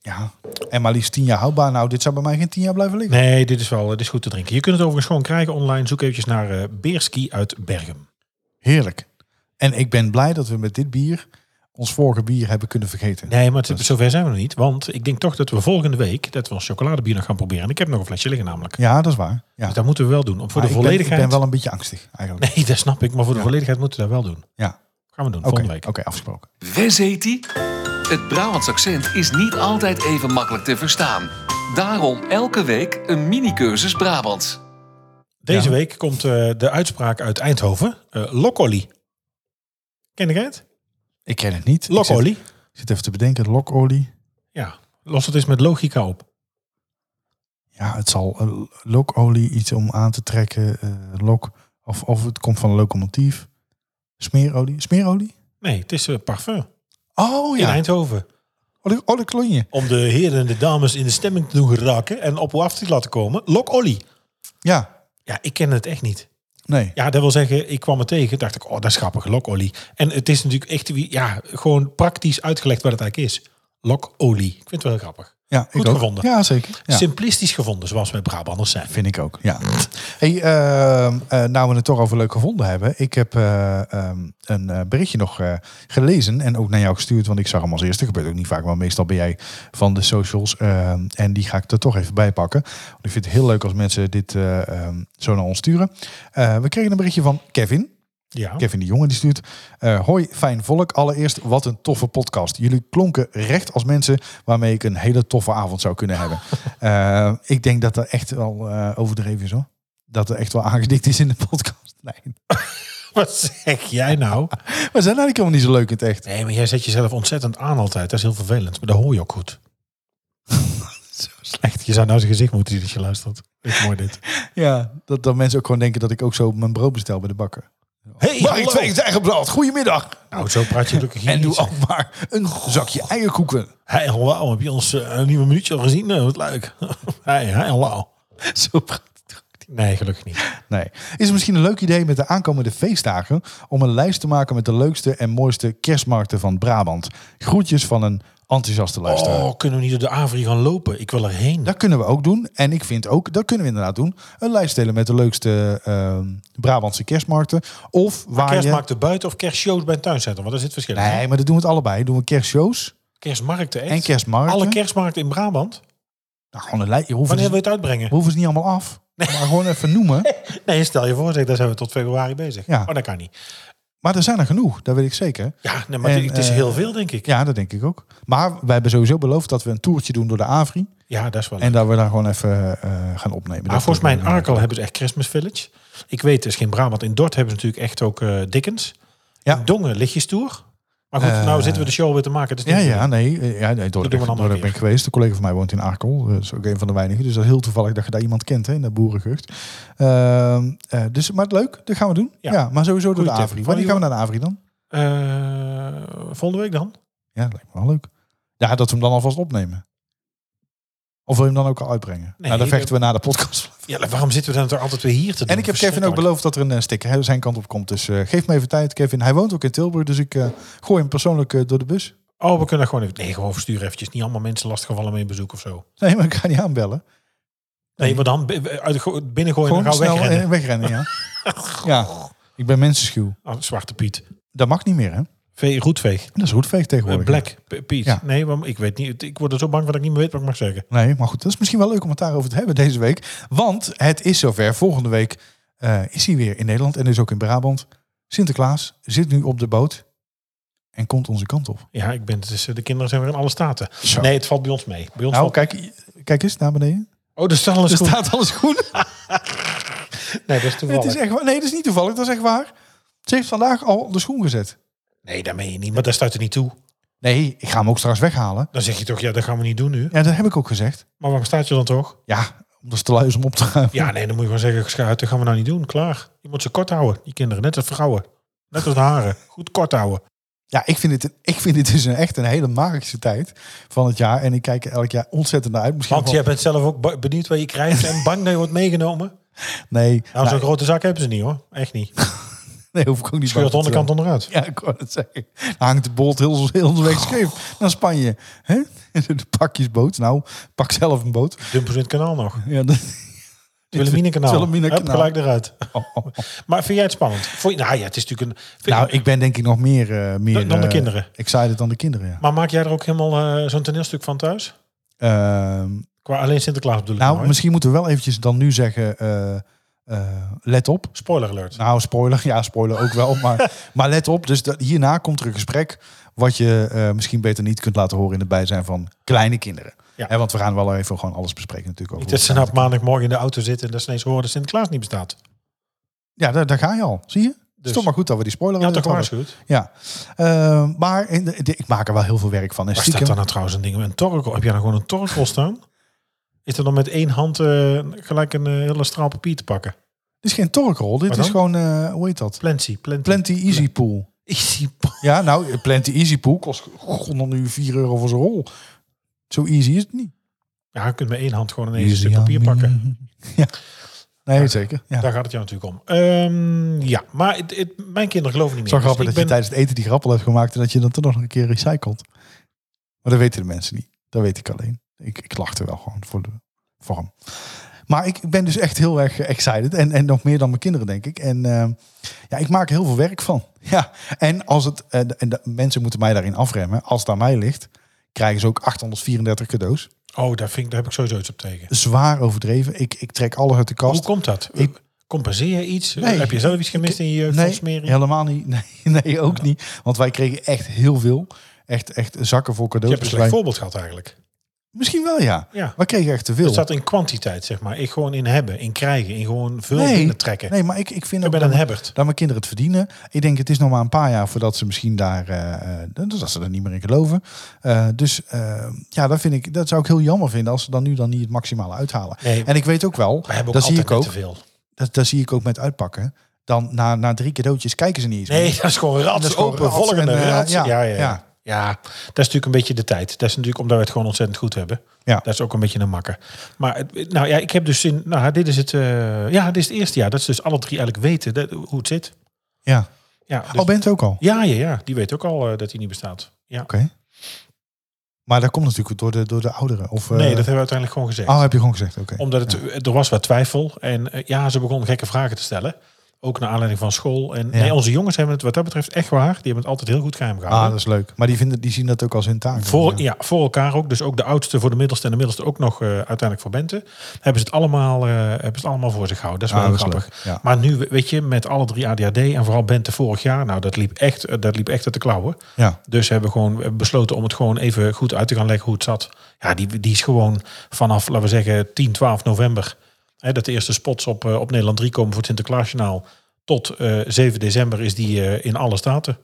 S1: ja, en maar liefst tien jaar houdbaar. Nou, dit zou bij mij geen tien jaar blijven liggen.
S2: Nee, dit is wel dit is goed te drinken. Je kunt het overigens gewoon krijgen online. Zoek eventjes naar eh, Beerski uit Bergen.
S1: Heerlijk. En ik ben blij dat we met dit bier ons vorige bier hebben kunnen vergeten.
S2: Nee, maar het, zover zijn we nog niet. Want ik denk toch dat we volgende week dat we ons chocoladebier nog gaan proberen. En ik heb nog een flesje liggen namelijk.
S1: Ja, dat is waar. Ja.
S2: Dus dat moeten we wel doen. Om voor
S1: Maar
S2: de
S1: Ah, ik ben-
S2: volledigheid.
S1: Ik ben, wel een beetje angstig eigenlijk.
S2: Nee, dat snap ik. Maar voor de volledigheid moeten we dat wel doen.
S1: Ja,
S2: Gaan we doen
S1: oké,
S2: volgende week.
S1: oké, afgesproken.
S3: Wes heet die? Het Brabants accent is niet altijd even makkelijk te verstaan. Daarom elke week een mini-cursus Brabants.
S2: Deze
S1: Ja.
S2: week komt eh, de uitspraak uit Eindhoven. Eh Lokkoli. Ken je het?
S1: Ik ken het niet. Ik zit,
S2: Lokkoli.
S1: ik zit even te bedenken, lokolie.
S2: Ja. Los het eens met logica op.
S1: Ja, het zal eh, lokolie iets om aan te trekken. eh, lok, of, of het komt van een locomotief. Smeerolie. Smeerolie?
S2: Nee, het is eh, parfum.
S1: Oh
S2: In
S1: ja,
S2: Eindhoven.
S1: olie, olieklonje.
S2: om de heren en de dames in de stemming te doen geraken en op af te laten komen. Lok Olly.
S1: Ja,
S2: Ja, ik ken het echt niet.
S1: nee.
S2: Ja, dat wil zeggen, ik kwam het tegen, dacht ik, oh, dat is grappig, Lok Olly. En het is natuurlijk echt, wie- ja, gewoon praktisch uitgelegd wat het eigenlijk is. Lok Olly. Ik vind het wel heel grappig.
S1: Ja, ik
S2: Goed
S1: ook.
S2: gevonden.
S1: Ja, zeker. Ja,
S2: Simplistisch gevonden, zoals wij Brabanders zijn.
S1: vind ik ook. Ja. Hey, ehm, eh, nou we het toch over leuk gevonden hebben. Ik heb eh, ehm, een eh, berichtje nog eh, gelezen en ook naar jou gestuurd. Want ik zag hem als eerste. Gebeurt ook niet vaak, maar meestal ben jij van de socials. ehm, en die ga ik er toch even bij pakken. Want ik vind het heel leuk als mensen dit eh, ehm, zo naar ons sturen. Eh, we kregen een berichtje van Kevin.
S2: Ja,
S1: Kevin de Jonge die stuurt. eh, Hoi, fijn volk. Allereerst, wat een toffe podcast. Jullie klonken recht als mensen waarmee ik een hele toffe avond zou kunnen hebben. Eh, ik denk dat dat echt wel eh, overdreven is hoor. Dat er echt wel aangedikt is in de podcast. Nee,
S2: wat zeg jij nou?
S1: we zijn eigenlijk helemaal niet zo leuk in het echt.
S2: Nee, maar jij zet jezelf ontzettend aan altijd. Dat is heel vervelend, maar dat hoor je ook goed. Zo slecht. Je zou nou zijn gezicht moeten zien als je luistert. Is mooi dit.
S1: Ja, dat, dat mensen ook gewoon denken dat ik ook zo mijn brood bestel bij de bakker. maar
S2: Hey,
S1: ik
S2: hallo.
S1: twee eigen brood. Goedemiddag.
S2: Nou, zo praat je gelukkig hier
S1: En
S2: niet,
S1: doe
S2: zeg.
S1: ook maar een zakje eierkoeken.
S2: Hey, hallo, heb je ons eh, een nieuwe minuutje al gezien? Eh, wat leuk. hey, hey, hallo.
S1: Zo praat
S2: Nee, gelukkig niet.
S1: Nee. Is het misschien een leuk idee met de aankomende feestdagen om een lijst te maken met de leukste en mooiste kerstmarkten van Brabant? Groetjes van een enthousiaste luisteraar.
S2: Oh, kunnen we niet door de Avri gaan lopen? Ik wil erheen.
S1: Dat kunnen we ook doen. En ik vind ook, dat kunnen we inderdaad doen. Een lijst delen met de leukste ehm, Brabantse kerstmarkten. Of waar je...
S2: Kerstmarkten buiten of kerstshows bij het tuincentrum? Want daar zit verschil in.
S1: Nee, maar dat doen we het allebei. Doen we kerstshows
S2: Kerstmarkten, echt?
S1: en kerstmarkten.
S2: Alle kerstmarkten in Brabant?
S1: nou, gewoon een lijst. Je hoeft
S2: Wanneer
S1: ze,
S2: wil je het uitbrengen?
S1: we hoeven ze niet allemaal af. Maar gewoon even noemen.
S2: Nee, stel je voor, zeg, daar zijn we tot februari bezig.
S1: Ja.
S2: Oh, dat kan niet.
S1: Maar er zijn er genoeg, dat weet ik zeker.
S2: Ja, nee, maar
S1: En,
S2: het is
S1: eh,
S2: heel veel, denk ik. Ja,
S1: Ja, dat denk ik ook. Maar wij hebben sowieso beloofd dat we een toertje doen door de Avri.
S2: dat is wel
S1: En dat we daar gewoon even eh, gaan opnemen. Dat
S2: Maar Ah, volgens mij in
S1: we-
S2: Arkel hebben ze echt Christmas Village. Ik weet, het is geen Brabant. In Dort hebben ze natuurlijk echt ook eh, Dickens.
S1: Ja.
S2: In Dongen ligt je stoer. Maar goed,
S1: Eh,
S2: nou zitten we de show weer te maken. Dus
S1: Ja, ja, nee. eh, Ja, nee door
S2: doen we een andere
S1: ben
S2: keer.
S1: ik geweest. Een collega van mij woont in Arkel. Dat is ook een van de weinigen. Dus dat is heel toevallig dat je daar iemand kent, hè, in dat boerengehucht. Ehm, eh, dus, maar leuk, dat gaan we doen.
S2: Ja.
S1: Ja, maar sowieso door
S2: Goeie
S1: de
S2: tip.
S1: Avri. Wanneer gaan we naar de Avri dan?
S2: Eh, volgende week dan?
S1: Ja, dat lijkt me wel leuk. Ja, dat we hem dan alvast opnemen. Of wil je hem dan ook al uitbrengen?
S2: Nee,
S1: nou, dan
S2: dat-
S1: vechten we na de podcast.
S2: Ja, maar waarom zitten we dan toch altijd weer hier te doen?
S1: En ik heb Kevin ook
S2: Verschrikkelijk.
S1: beloofd dat er een eh, sticker hè, zijn kant op komt. Dus eh, geef me even tijd, Kevin. Hij woont ook in Tilburg, dus ik eh, gooi hem persoonlijk eh, door de bus.
S2: Oh, we kunnen gewoon even... Nee, gewoon verstuur eventjes. Niet allemaal mensen lastgevallen mee bezoek of zo.
S1: Nee, maar ik ga niet aanbellen.
S2: Nee, maar dan be- uit, go- binnengooien en
S1: Gewoon
S2: dan gaan we
S1: snel
S2: wegrennen.
S1: wegrennen. wegrennen ja. ja, ik ben mensenschuw.
S2: Oh, Zwarte Piet.
S1: Dat mag niet meer, hè?
S2: Vee, roetveeg.
S1: Dat is roetveeg
S2: Eh,
S1: tegenwoordig.
S2: Black P- Piet.
S1: Ja.
S2: Nee, maar ik weet niet. Ik word er zo bang van dat ik niet meer weet wat ik mag zeggen.
S1: Nee, maar goed, dat is misschien wel leuk om het daarover te hebben deze week. Want het is zover. Volgende week eh, is hij weer in Nederland en dus ook in Brabant. Sinterklaas zit nu op de boot en komt onze kant op.
S2: Ja, ik ben, het is, eh, de kinderen zijn weer in alle staten.
S1: Zo.
S2: Nee, het valt bij ons mee. Bij ons
S1: Nou,
S2: valt...
S1: kijk, kijk eens naar beneden.
S2: Oh, er staat al een
S1: Er
S2: schoen.
S1: staat alles goed.
S2: Nee, dat is
S1: Het
S2: toevallig.
S1: is echt waar. Nee, dat is niet toevallig. Dat is echt waar. Ze heeft vandaag al de schoen gezet.
S2: Nee, dat meen je niet. Maar daar staat er niet toe.
S1: Nee, ik ga hem ook straks weghalen.
S2: Dan zeg je toch, ja, dat gaan we niet doen nu.
S1: Ja, dat heb ik ook gezegd.
S2: Maar waarom staat je dan toch?
S1: Ja, omdat ze te lui is om op te gaan.
S2: Ja, nee, dan moet je gewoon zeggen, schuit, dat gaan we nou niet doen. Klaar. Je moet ze kort houden, die kinderen. Net als vrouwen. Net als de haren. Goed kort houden.
S1: Ja, ik vind het, een- ik vind het dus een, echt een hele magische tijd van het jaar. En ik kijk er elk jaar ontzettend naar uit. Misschien
S2: Want
S1: wel-
S2: jij bent zelf ook ba- benieuwd wat je krijgt en bang dat je wordt meegenomen. Nou,
S1: Nee, nou,
S2: zo'n grote zak hebben ze niet hoor. Echt niet.
S1: nee, hoef ik ook niet
S2: Scheurt de
S1: bang te
S2: onderkant onderuit.
S1: zijn. Ja, ik wou het zeggen. Dan hangt de bolt heel, heel de weg
S2: Oh.
S1: scheef naar Spanje. hè? De pakjesboot. Nou, pak zelf een boot.
S2: Dumpen ze in het kanaal nog.
S1: Ja, dat,
S2: Het Wilhelminenkanaal.
S1: Het Wilhelminenkanaal.
S2: Hup, gelijk eruit. Maar vind jij het spannend? Vond je, nou ja, het is natuurlijk een... vind-
S1: Oh, nou, ik ben denk ik nog meer, eh meer
S2: Dan- dan de
S1: eh,
S2: kinderen.
S1: excited dan de kinderen, ja.
S2: Maar maak jij er ook helemaal eh, zo'n toneelstuk van thuis?
S1: Ehm,
S2: Qua alleen Sinterklaas bedoel ik
S1: Nou,
S2: nou, hè?
S1: misschien moeten we wel eventjes dan nu zeggen, eh, eh, let op.
S2: Spoiler alert.
S1: Nou, spoiler, ja, spoiler ook wel, maar, maar let op. Dus dat, hierna komt er een gesprek wat je eh, misschien beter niet kunt laten horen in het bijzijn van kleine kinderen.
S2: Ja.
S1: Hè, want we gaan wel even gewoon alles bespreken natuurlijk. Over
S2: Niet dat ze
S1: hoe
S2: nou
S1: het
S2: op maandagmorgen in de auto zitten en dat ze ineens horen dat Sinterklaas niet
S1: Oh,
S2: bestaat.
S1: gaat. Ja, daar, daar ga je al, zie je? Het
S2: Dus-
S1: is toch maar goed dat we die spoiler
S2: Ja,
S1: alert
S2: toch
S1: hadden.
S2: gewaarschuwd.
S1: Ja, Eh, maar in de- de- ik maak er wel heel veel werk van. En
S2: Waar staat
S1: stiekem,
S2: dan nou trouwens een ding? Een torkel. Heb jij nou gewoon een torkel staan? Is er dan met één hand eh, gelijk een eh, hele straal papier te pakken?
S1: dit is geen torkrol, dit
S2: Wat
S1: is
S2: dan?
S1: gewoon, eh, hoe heet dat?
S2: Plenty, plenty.
S1: Plenty Easy Pool.
S2: Easy.
S1: Ja, nou, Plenty Easy Pool kost god, dan nu 4 euro voor zijn rol. Zo easy is het niet.
S2: Ja, je kunt met één hand gewoon ineens een
S1: Easy
S2: stuk papier
S1: on me.
S2: pakken.
S1: Ja. Nee, zeker. Ja.
S2: Daar gaat het jou natuurlijk om. Ehm, ja, maar het, het- mijn kinderen geloven niet meer.
S1: Zo grappig dat
S2: Dus ik
S1: je tijdens het eten die grappel hebt gemaakt en dat je dan toch nog een keer recycelt. Maar dat weten de mensen niet. Dat weet ik alleen. Ik, ik lach er wel gewoon voor de vorm. Maar ik ben dus echt heel erg excited. En, en nog meer dan mijn kinderen, denk ik. En eh, ja, ik maak er heel veel werk van. Ja. En als het. eh, en de, mensen moeten mij daarin afremmen. Als het aan mij ligt, krijgen ze ook 834 cadeaus.
S2: Oh, daar, vind ik, daar heb ik sowieso iets op tegen.
S1: Zwaar overdreven. Ik, ik trek alles uit de kast.
S2: Hoe komt dat?
S1: Ik-
S2: Compenseer je iets?
S1: Nee.
S2: heb je zelf iets gemist in je jeugd van
S1: Nee,
S2: smeren?
S1: helemaal niet. Nee, nee, ook niet. Want wij kregen echt heel veel. Echt, echt zakken vol
S2: Je
S1: cadeaus.
S2: hebt een
S1: Dus
S2: slecht
S1: wij-
S2: voorbeeld gehad eigenlijk.
S1: Misschien wel, ja.
S2: Ja. Dus
S1: Wij kregen echt te veel.
S2: Het zat in kwantiteit, zeg maar. Ik gewoon in hebben, in krijgen, in gewoon veel
S1: Nee.
S2: binnen trekken.
S1: Nee, maar ik, ik vind
S2: Ik
S1: ook
S2: ben
S1: dat,
S2: een hebbert.
S1: dat mijn kinderen het verdienen. Ik denk, het is nog maar een paar jaar voordat ze misschien daar... eh, eh, dus dat ze er niet meer in geloven. Eh, dus eh, ja, dat, vind ik, dat zou ik heel jammer vinden... als ze dan nu dan niet het maximale uithalen.
S2: Nee.
S1: En ik weet ook wel,
S2: We hebben ook
S1: dat zie
S2: altijd
S1: ik ook...
S2: te veel.
S1: Dat, dat zie ik ook met uitpakken. Dan na, na drie cadeautjes kijken ze niet eens meer.
S2: Nee, dat is gewoon
S1: Dat is
S2: rats
S1: gewoon
S2: open,
S1: rats
S2: volgende
S1: en, eh,
S2: rats.
S1: ja,
S2: Ja, ja, ja.
S1: ja.
S2: Ja, dat is natuurlijk een beetje de tijd. Dat is natuurlijk omdat we het gewoon ontzettend goed hebben.
S1: Ja.
S2: Dat is ook een beetje een makker. Maar het- nou ja, ik heb dus in, nou dit is het, eh, ja, dit is het eerste jaar. Dat ze dus alle drie eigenlijk weten dat, hoe het zit.
S1: Ja.
S2: Ja, dus-
S1: Oh, Al bent ook al?
S2: ja, ja, ja, die weet ook al eh, dat hij niet bestaat. Ja.
S1: Oké. Maar dat komt natuurlijk door de, door de ouderen. Of, eh,
S2: Nee, dat hebben we uiteindelijk gewoon gezegd.
S1: Oh, heb je gewoon gezegd. Oké.
S2: Omdat het, er was wat twijfel. En eh, ja, ze begon gekke vragen te stellen. Ook naar aanleiding van school. En
S1: Ja.
S2: nee, onze jongens hebben het wat dat betreft echt waar. Die hebben het altijd heel goed geheim
S1: Ah,
S2: gehouden.
S1: dat is leuk. Maar die, vinden, die zien dat ook als hun taak.
S2: voor, ja, voor elkaar ook. Dus ook de oudste voor de middelste en de middelste ook nog eh, uiteindelijk voor Bente. Hebben ze het allemaal, eh, hebben ze het allemaal voor zich gehouden. Dat is
S1: Ah,
S2: wel
S1: dat is
S2: grappig.
S1: leuk. Ja.
S2: Maar nu, weet je, met alle drie ADHD en vooral Bente vorig jaar. Nou, dat liep echt, eh, dat liep echt uit de klauwen.
S1: Ja.
S2: Dus hebben we gewoon eh, besloten om het gewoon even goed uit te gaan leggen hoe het zat. Ja, die, die is gewoon vanaf, laten we zeggen, 10, 12 november. Hè, dat de eerste spots op, eh, op Nederland 3 komen voor het Sinterklaasjournaal. Tot eh, 7 december is die eh, in alle staten.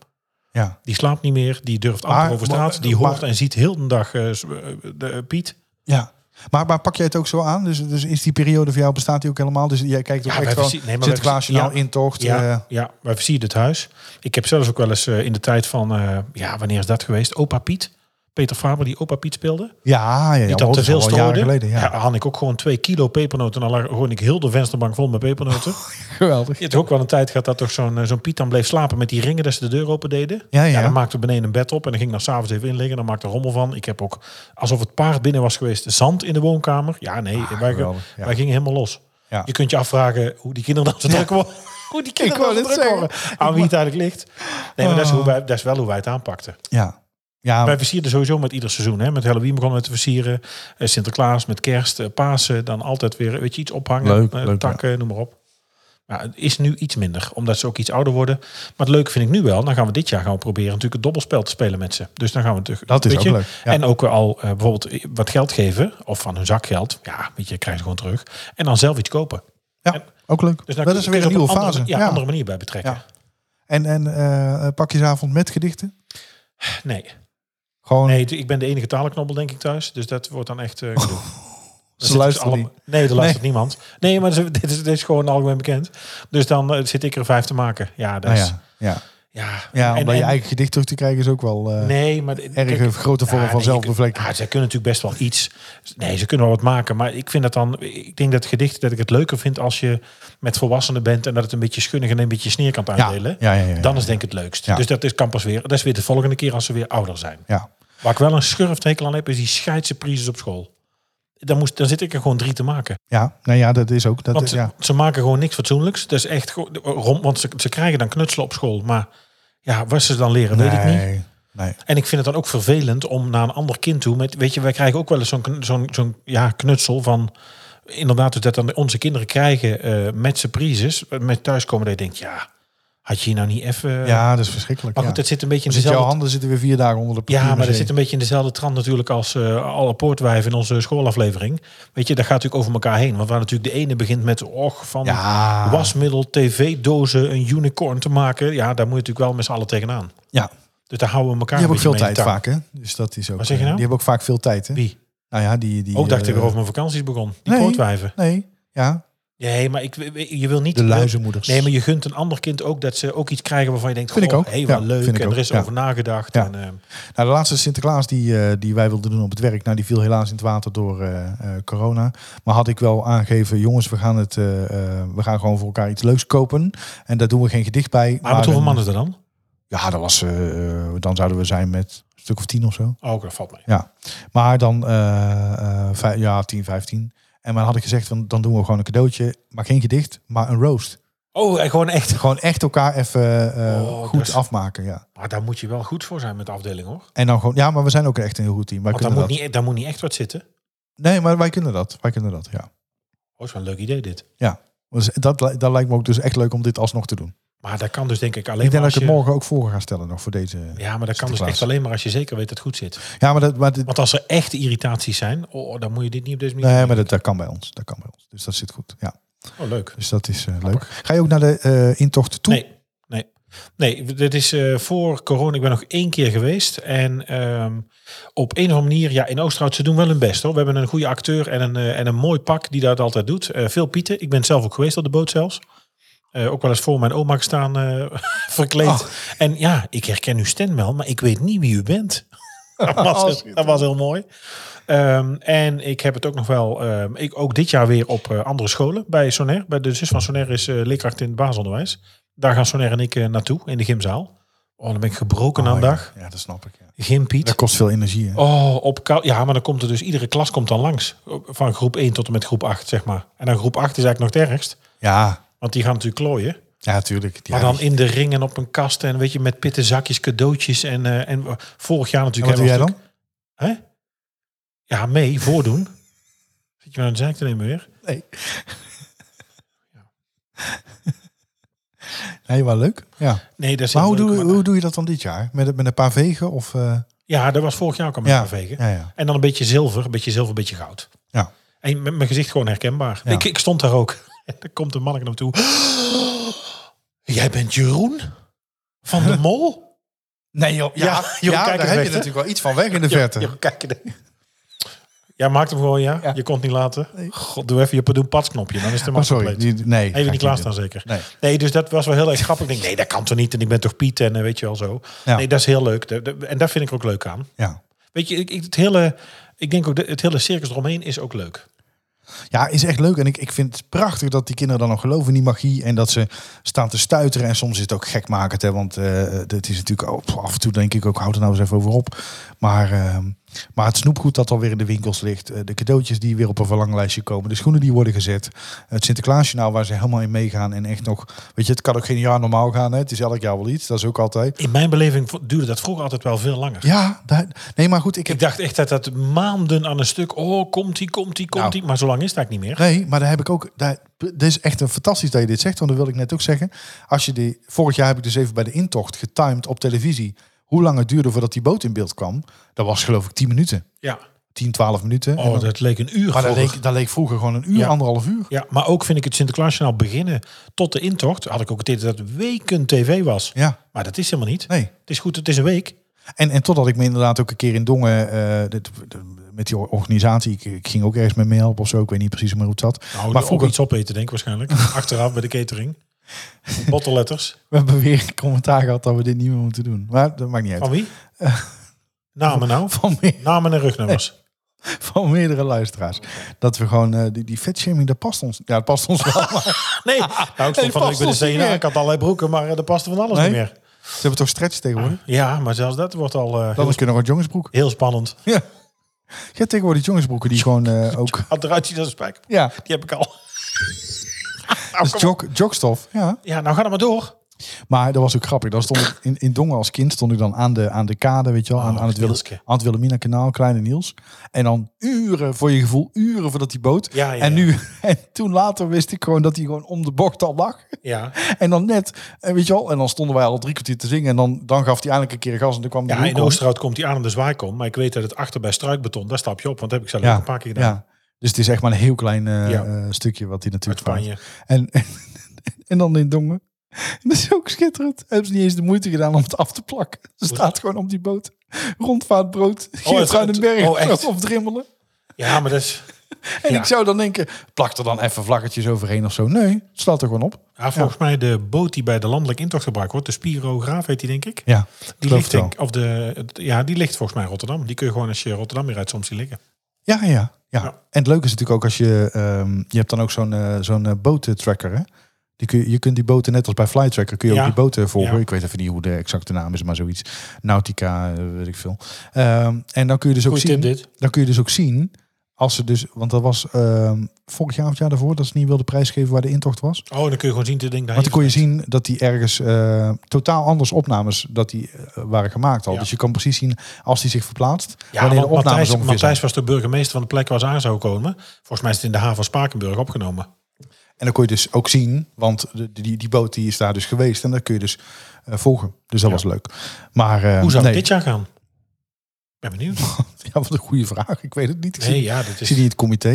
S1: ja.
S2: Die slaapt niet meer, die durft
S1: Maar-
S2: amper over straat.
S1: maar-
S2: Die hoort
S1: maar-
S2: en ziet heel de dag eh, s- eh, de, eh, Piet.
S1: ja. Maar, maar pak jij het ook zo aan? Dus, dus is die periode voor jou bestaat die ook helemaal? Dus jij kijkt ook
S2: Ja,
S1: echt
S2: wij
S1: gewoon
S2: verzie- nee, maar wij
S1: Sinterklaasjournaal,
S2: verzie-
S1: intocht.
S2: Ja,
S1: eh,
S2: ja, wij versieren het huis. Ik heb zelfs ook wel eens eh, in de tijd van, eh, ja, wanneer is dat geweest? Opa Piet. Peter Faber die opa Piet speelde.
S1: ja, ja, ja,
S2: Niet
S1: maar
S2: dat te
S1: is al
S2: veel
S1: wel jaren
S2: strooide.
S1: geleden, ja.
S2: ja. had ik ook gewoon twee kilo pepernoten. En dan lag- gewoon ik heel de vensterbank vol met pepernoten.
S1: Geweldig.
S2: Je hebt ook wel een tijd gehad dat toch zo'n eh, zo'n Piet dan bleef slapen met die ringen dat ze de deur open deden.
S1: Ja, ja.
S2: dan maakte beneden een bed op en dan ging dan s'avonds even in liggen. Dan maakte er rommel van. Ik heb ook, alsof het paard binnen was geweest, zand in de woonkamer. Ja, nee, wij,
S1: geweldig, ja.
S2: wij gingen helemaal los.
S1: Ja.
S2: Je kunt je afvragen hoe die kinderen dan zo druk worden. Hoe die kinderen
S1: wou
S2: dan zo
S1: net
S2: druk
S1: zeggen.
S2: worden. Aan wie het eigenlijk ligt. Nee, maar dat, is
S1: Oh.
S2: hoe wij, dat is wel hoe wij het aanpakten.
S1: Ja. Ja,
S2: Wij versierden sowieso met ieder seizoen. Hè? Met Halloween begonnen we te versieren. eh, Sinterklaas, met kerst, eh, Pasen. Dan altijd weer weet je, iets ophangen.
S1: Leuk,
S2: eh,
S1: leuk,
S2: takken, noem maar op. Maar het is nu iets minder, omdat ze ook iets ouder worden. Maar het leuke vind ik nu wel, dan gaan we dit jaar gaan we proberen natuurlijk het dobbelspel te spelen met ze. Dus dan gaan we natuurlijk.
S1: Dat is
S2: weet
S1: ook
S2: je,
S1: leuk, ja.
S2: En ook al eh, bijvoorbeeld wat geld geven, of van hun zakgeld. Ja, weet je, krijg je gewoon terug. En dan zelf iets kopen.
S1: ja, ook leuk.
S2: Dus daar
S1: dat
S2: kun-
S1: is
S2: kun je
S1: weer een
S2: op
S1: nieuwe
S2: andere-
S1: fase.
S2: ja,
S1: Ja.
S2: andere manier bij betrekken.
S1: Ja. En, en eh, pakjesavond met gedichten?
S2: Nee.
S1: Gewoon,
S2: Nee, ik ben de enige talenknobbel, denk ik, thuis. Dus dat wordt dan echt. eh, gedoe. Dan
S1: Oh. ze
S2: zitten
S1: luisteren
S2: allemaal-
S1: niet.
S2: Nee, er luistert niemand. Nee, maar ze- dit is, dit is gewoon algemeen bekend. Dus dan eh, zit ik er vijf te maken. Ja, dat
S1: Nou
S2: is.
S1: ja, ja.
S2: ja.
S1: ja
S2: En-
S1: om bij je
S2: en-
S1: eigen gedicht terug te krijgen is ook wel... eh,
S2: Nee, maar
S1: erge grote vorm van
S2: nee,
S1: zelfbevlekking.
S2: ik- Ja, ze kunnen natuurlijk best wel iets. Nee, ze kunnen wel wat maken, maar ik vind dat dan. Ik denk dat gedicht dat ik het leuker vind als je met volwassenen bent en dat het een beetje schunnig en een beetje sneerkant
S1: ja.
S2: uitdelen.
S1: Ja, ja, ja, ja.
S2: Dan is denk ik het leukst.
S1: Ja.
S2: Dus dat is kan pas weer. Dat is weer de volgende keer als ze weer ouder zijn.
S1: ja.
S2: Waar ik wel een schurftekel aan heb, is die scheidse prizes op school. Dan, moest, dan zit ik er gewoon drie te maken.
S1: Ja, nou ja, dat is ook. Dat,
S2: Want
S1: is- ja.
S2: ze, ze maken gewoon niks fatsoenlijks. Dat is echt gewoon rond. Want ze, ze krijgen dan knutselen op school. Maar ja, wat ze dan leren, weet ik niet.
S1: Nee, nee.
S2: En ik vind het dan ook vervelend om naar een ander kind toe. Met, weet je, wij krijgen ook wel eens zo'n kn- zo'n zo'n, ja, knutsel van. Inderdaad, dus dat dan onze kinderen krijgen eh, met surprises. Met thuiskomen. Dat je denkt, ja, had je hier nou niet even.
S1: Ja, dat is verschrikkelijk.
S2: maar
S1: ja.
S2: goed, het zit een beetje in
S1: Dan zitten jouw
S2: dezelfde
S1: handen zitten weer vier dagen onder de
S2: ja, maar dat
S1: papiermachine.
S2: zit een beetje in dezelfde trant natuurlijk als eh, alle poortwijven in onze schoolaflevering. Weet je, dat gaat natuurlijk over elkaar heen. Want waar natuurlijk de ene begint met, och, van
S1: Ja.
S2: wasmiddel, tv-dozen, een unicorn te maken. Ja, daar moet je natuurlijk wel met z'n allen tegenaan.
S1: Ja,
S2: Dus daar houden we
S1: die
S2: elkaar
S1: hebben
S2: een
S1: ook veel
S2: beetje mee in
S1: tijd
S2: de
S1: vaak, hè? Dus dat is ook.
S2: Wat zeg je nou?
S1: Die hebben ook vaak veel tijd, hè?
S2: tang. Wie?
S1: Nou ja, die. die
S2: Ook dacht ik
S1: eh,
S2: weer over mijn vakanties begon. Die
S1: nee.
S2: poortwijven.
S1: Nee, ja.
S2: Nee, maar ik, je wil niet...
S1: De luizenmoeders.
S2: Nee, maar je gunt een ander kind ook dat ze ook iets krijgen waarvan je denkt...
S1: Vind ik
S2: goh,
S1: ook.
S2: Hey, wat
S1: Ja,
S2: leuk.
S1: vind ik
S2: En er
S1: ook.
S2: is
S1: Ja.
S2: over nagedacht.
S1: Ja.
S2: En, eh,
S1: Nou, de laatste Sinterklaas die, eh, die wij wilden doen op het werk, nou, die viel helaas in het water door eh, eh, corona. Maar had ik wel aangegeven, jongens, we gaan, het, eh, eh, we gaan gewoon voor elkaar iets leuks kopen. En daar doen we geen gedicht bij.
S2: maar met hoeveel
S1: een-
S2: mannen er dan?
S1: Ja, dat was, eh, eh, dan zouden we zijn met een stuk of tien of zo.
S2: Oh, dat valt mee.
S1: Ja, maar dan eh, eh, vij- ja, 10, 15. En maar had ik gezegd, van, dan doen we gewoon een cadeautje. Maar geen gedicht, maar een roast.
S2: Oh, en gewoon echt.
S1: Gewoon echt elkaar even eh,
S2: Oh,
S1: goed
S2: dus-
S1: afmaken. Ja.
S2: Maar daar moet je wel goed voor zijn met de afdeling, hoor.
S1: En dan gewoon, ja, maar we zijn ook echt een heel goed team. Wij
S2: Want daar
S1: kunnen
S2: moet,
S1: dat.
S2: niet, daar moet niet echt wat zitten.
S1: Nee, maar wij kunnen dat. Wij kunnen dat, ja.
S2: Oh, is wel een leuk idee dit.
S1: Dus dat, li- dat lijkt me ook dus echt leuk om dit alsnog te doen.
S2: Maar dat kan dus denk ik alleen
S1: Ik denk
S2: maar
S1: dat ik het
S2: als je...
S1: morgen ook voor ga stellen nog voor deze.
S2: Ja, maar dat kan dus
S1: Sinterklaas.
S2: echt alleen maar als je zeker weet dat het goed zit.
S1: Ja, maar dat, maar dit,
S2: Want als er echte irritaties zijn, oh, dan moet je dit niet op deze manier
S1: nee,
S2: doen.
S1: maar dat, dat kan bij ons. Dat kan bij ons. Dus dat zit goed. Ja,
S2: Oh, leuk.
S1: dus dat is eh, leuk. Ga je ook naar de eh, intocht toe?
S2: Nee, nee. Nee, dit is eh, voor corona. Ik ben nog één keer geweest. En ehm, op een of andere manier, ja, in Oosterhout, ze doen wel hun best hoor. We hebben een goede acteur en een, eh, en een mooi pak die dat altijd doet. Eh, veel Pieten. Ik ben zelf ook geweest op de boot zelfs. Eh, ook wel eens voor mijn oma gestaan, eh, verkleed. En ja, ik herken uw stem wel, maar ik weet niet wie u bent. dat, was, dat was heel mooi. Ehm, en ik heb het ook nog wel, ehm, ik, ook dit jaar weer op eh, andere scholen bij Soner. Bij de zus van Soner is eh, leerkracht in het basisonderwijs. Daar gaan Soner en ik eh, naartoe in de gymzaal. Oh, dan ben ik gebroken aan
S1: Oh, ja.
S2: dag.
S1: Ja, dat snap ik. Ja.
S2: Geen Piet.
S1: Dat kost veel energie. Hè?
S2: Oh, op kou. Ja, maar dan komt er dus iedere klas komt dan langs. Van groep 1 tot en met groep 8, zeg maar. En dan groep 8 is eigenlijk nog het ergst.
S1: Ja,
S2: Want die gaan natuurlijk klooien.
S1: ja, tuurlijk. Ja,
S2: maar dan in de ring en op een kast en weet je, met pitten zakjes, cadeautjes. En, eh, en vorig jaar
S1: en
S2: natuurlijk...
S1: wat doe jij
S2: hebben we
S1: dan?
S2: natuurlijk- Hè? Ja, mee, voordoen. Zit je maar aan de zaak te nemen weer?
S1: Nee. Nee, wel leuk. Ja.
S2: Nee, dat is
S1: Maar
S2: heel
S1: hoe
S2: leuk,
S1: doe,
S2: maar-
S1: hoe doe je dat dan dit jaar? Met, met een paar vegen? Of, eh,
S2: Ja, dat was vorig jaar ook al met
S1: ja.
S2: ja. vegen.
S1: Ja, ja.
S2: En dan een beetje zilver, een beetje zilver, een beetje goud.
S1: Ja.
S2: En met mijn gezicht gewoon herkenbaar.
S1: Ja.
S2: Ik, ik stond daar ook. En dan komt een manneke naar me toe. Jij bent Jeroen? Van de Mol?
S1: Nee, joh, ja,
S2: Ja,
S1: ja,
S2: joh, kijk
S1: daar
S2: eens
S1: heb
S2: weg,
S1: je
S2: hè?
S1: natuurlijk wel iets van weg in de verte.
S2: Ja, ja, kijk er- Jij maakt hem gewoon, ja?
S1: Ja.
S2: Je kon het niet laten?
S1: Nee.
S2: God, doe even je padoen patsknopje. Dan is de
S1: Maar
S2: maar
S1: Oh, sorry,
S2: compleet.
S1: die, nee. ga ik
S2: Even niet
S1: doen.
S2: klaarstaan zeker.
S1: Nee.
S2: Nee, dus dat was wel heel erg grappig. Ik denk, nee, dat kan toch niet? En ik ben toch Piet en eh, weet je wel zo.
S1: Ja.
S2: Nee, dat is heel leuk. Dat- dat- En daar vind ik ook leuk aan.
S1: Ja.
S2: Weet je, ik, ik- het hele, ik denk ook de, het hele circus eromheen is ook leuk.
S1: ja, is echt leuk. En ik, ik vind het prachtig dat die kinderen dan nog geloven in die magie. En dat ze staan te stuiteren. En soms is het ook gekmakend. Hè, want eh het is natuurlijk oh, pff, af en toe denk ik ook, houd er nou eens even over op. Maar, ehm, maar het snoepgoed dat alweer in de winkels ligt. eh, de cadeautjes die weer op een verlanglijstje komen. De schoenen die worden gezet. Het Sinterklaasje nou waar ze helemaal in meegaan. En echt nog, weet je, het kan ook geen jaar normaal gaan. Hè, het is elk jaar wel iets. Dat is ook altijd.
S2: In mijn beleving vo- duurde dat vroeger altijd wel veel langer.
S1: Ja, daar- nee, maar goed. Ik heb
S2: Ik dacht echt dat dat maanden aan een stuk. Oh, komt die, komt die, komt
S1: Nou.
S2: die. Maar zo lang is dat niet meer.
S1: Nee, maar daar heb ik ook. Daar, dit is echt een fantastisch dat je dit zegt, want dat wil ik net ook zeggen. Als je die, vorig jaar heb ik dus even bij de intocht getimed op televisie. Hoe lang het duurde voordat die boot in beeld kwam? Dat was geloof ik 10 minuten.
S2: Ja.
S1: 10, 12 minuten. En
S2: Oh,
S1: dan-
S2: dat leek een uur.
S1: maar dat
S2: vroeger.
S1: leek, dat leek vroeger gewoon een uur,
S2: Ja.
S1: anderhalf uur.
S2: Ja, maar ook vind ik het Sinterklaasjournaal beginnen tot de intocht. Had ik ook het idee dat het weken tv was.
S1: Ja,
S2: Maar dat is helemaal niet.
S1: nee.
S2: Het is goed, het is een week.
S1: En, en totdat ik me inderdaad ook een keer in Dongen. eh, dit, de- met die or- organisatie. Ik, ik ging ook ergens met meehelpen of zo. Ik weet niet precies meer hoe het zat.
S2: Nou,
S1: maar
S2: maar ook
S1: vroeger
S2: iets opeten denk ik waarschijnlijk. Achteraf bij de catering. Bottleletters.
S1: we hebben weer commentaar gehad dat we dit niet meer moeten doen. Maar dat maakt niet uit.
S2: Van wie? Namen nou?
S1: Van meer.
S2: Namen en rugnummers.
S1: van meerdere luisteraars. Dat we gewoon, eh, die, die vetshaming, dat past ons. Ja, dat past ons wel. maar
S2: Nee, nou, ik stond
S1: past
S2: van de week bij
S1: ons
S2: de
S1: niet
S2: CNA.
S1: meer.
S2: Ik had allerlei broeken, maar eh, er paste van alles
S1: Nee?
S2: niet meer.
S1: Ze hebben toch stretch tegenwoordig?
S2: Ja, maar zelfs dat wordt al eh,
S1: Dat
S2: heel,
S1: is nog een jongensbroek.
S2: heel spannend.
S1: Ja. Je hebt tegenwoordig jongensbroeken die gewoon eh, ook...
S2: Had eruit zien als een spijker.
S1: Ja,
S2: Die heb ik al. Nou,
S1: dat is jog, jogstof. Ja.
S2: Ja, nou ga dan maar door.
S1: Maar dat was ook grappig. Dan stond ik in, in Dongen als kind stond ik dan aan de, aan de kade, weet je wel, aan,
S2: Oh,
S1: aan, het Wille-
S2: Nielske.
S1: aan het Wilhelmina kanaal, kleine Niels. En dan uren voor je gevoel, uren voordat die boot.
S2: Ja, ja,
S1: En
S2: ja.
S1: nu en toen later wist ik gewoon dat hij gewoon om de bocht al lag.
S2: Ja,
S1: En dan net, en weet je wel, en dan stonden wij al drie kwartier te zingen. En dan, dan gaf hij eindelijk een keer gas en dan kwam de
S2: ja
S1: hoek
S2: in
S1: om.
S2: Oosterhout komt die aan om de zwaaikom. Maar ik weet dat het achter bij struikbeton, daar stap je op. Want dat heb ik zelf ook
S1: ja,
S2: een paar keer gedaan.
S1: ja. Dus het is echt maar een heel klein eh,
S2: Ja.
S1: eh, stukje wat hij
S2: Uit
S1: natuurlijk
S2: Spanje.
S1: vaart. En, en, en dan in Dongen. Dat is ook schitterend. Hebben ze niet eens de moeite gedaan om het af te plakken. Ze staat gewoon op die boot. Rondvaartbrood. Geert
S2: het-
S1: Ruidenberg.
S2: oh, echt?
S1: Of Drimmelen.
S2: Ja, maar dat is...
S1: En
S2: Ja.
S1: ik zou dan denken, plak er dan even vlaggetjes overheen of zo. Nee, het staat er gewoon op.
S2: Ja, volgens mij de boot die bij de landelijk intocht gebruikt wordt, de Spirograaf heet die denk ik.
S1: Ja,
S2: Die
S1: geloof
S2: ligt,
S1: het wel.
S2: denk, of de, het- ja, die ligt volgens mij in Rotterdam. Die kun je gewoon als je Rotterdam weer uit soms zien liggen.
S1: Ja, ja, ja, ja.
S2: Ja.
S1: En het leuke is natuurlijk ook als je... ehm, je hebt dan ook zo'n eh, zo'n eh, botentracker, hè? Die kun je, je kunt die boten, net als bij Flytracker, kun je
S2: Ja.
S1: ook die boten volgen.
S2: Ja.
S1: Ik weet even niet hoe de exacte naam is, maar zoiets. Nautica, eh, weet ik veel. Ehm, en dan kun je dus ook
S2: Goeie
S1: zien...
S2: tip dit.
S1: Dan kun je dus ook zien, als ze dus... Want dat was ehm, vorig jaar of het jaar daarvoor, dat ze niet wilden prijsgeven waar de intocht was.
S2: Oh, dan kun je gewoon zien, dit ding daar
S1: Want dan kon je
S2: heeft-
S1: zien dat die ergens eh, totaal anders opnames dat die, eh, waren gemaakt al.
S2: Ja.
S1: Dus je kan precies zien als die zich verplaatst,
S2: Ja,
S1: wanneer de
S2: want
S1: opnames
S2: Matthijs,
S1: ongeveer zijn.
S2: Matthijs was de burgemeester van de plek waar ze aan zou komen. Volgens mij is het in de haven van Spakenburg opgenomen.
S1: En dan kon je dus ook zien, want de, die, die boot die is daar dus geweest. En dan kun je dus eh, volgen. Dus dat
S2: Ja.
S1: was leuk. Maar eh,
S2: Hoe zou
S1: nee.
S2: het dit jaar gaan? Ik ben benieuwd.
S1: Ja, wat een goede vraag. Ik weet het niet. Ik
S2: Nee,
S1: zie,
S2: ja, dat
S1: ik
S2: is...
S1: zie niet het comité.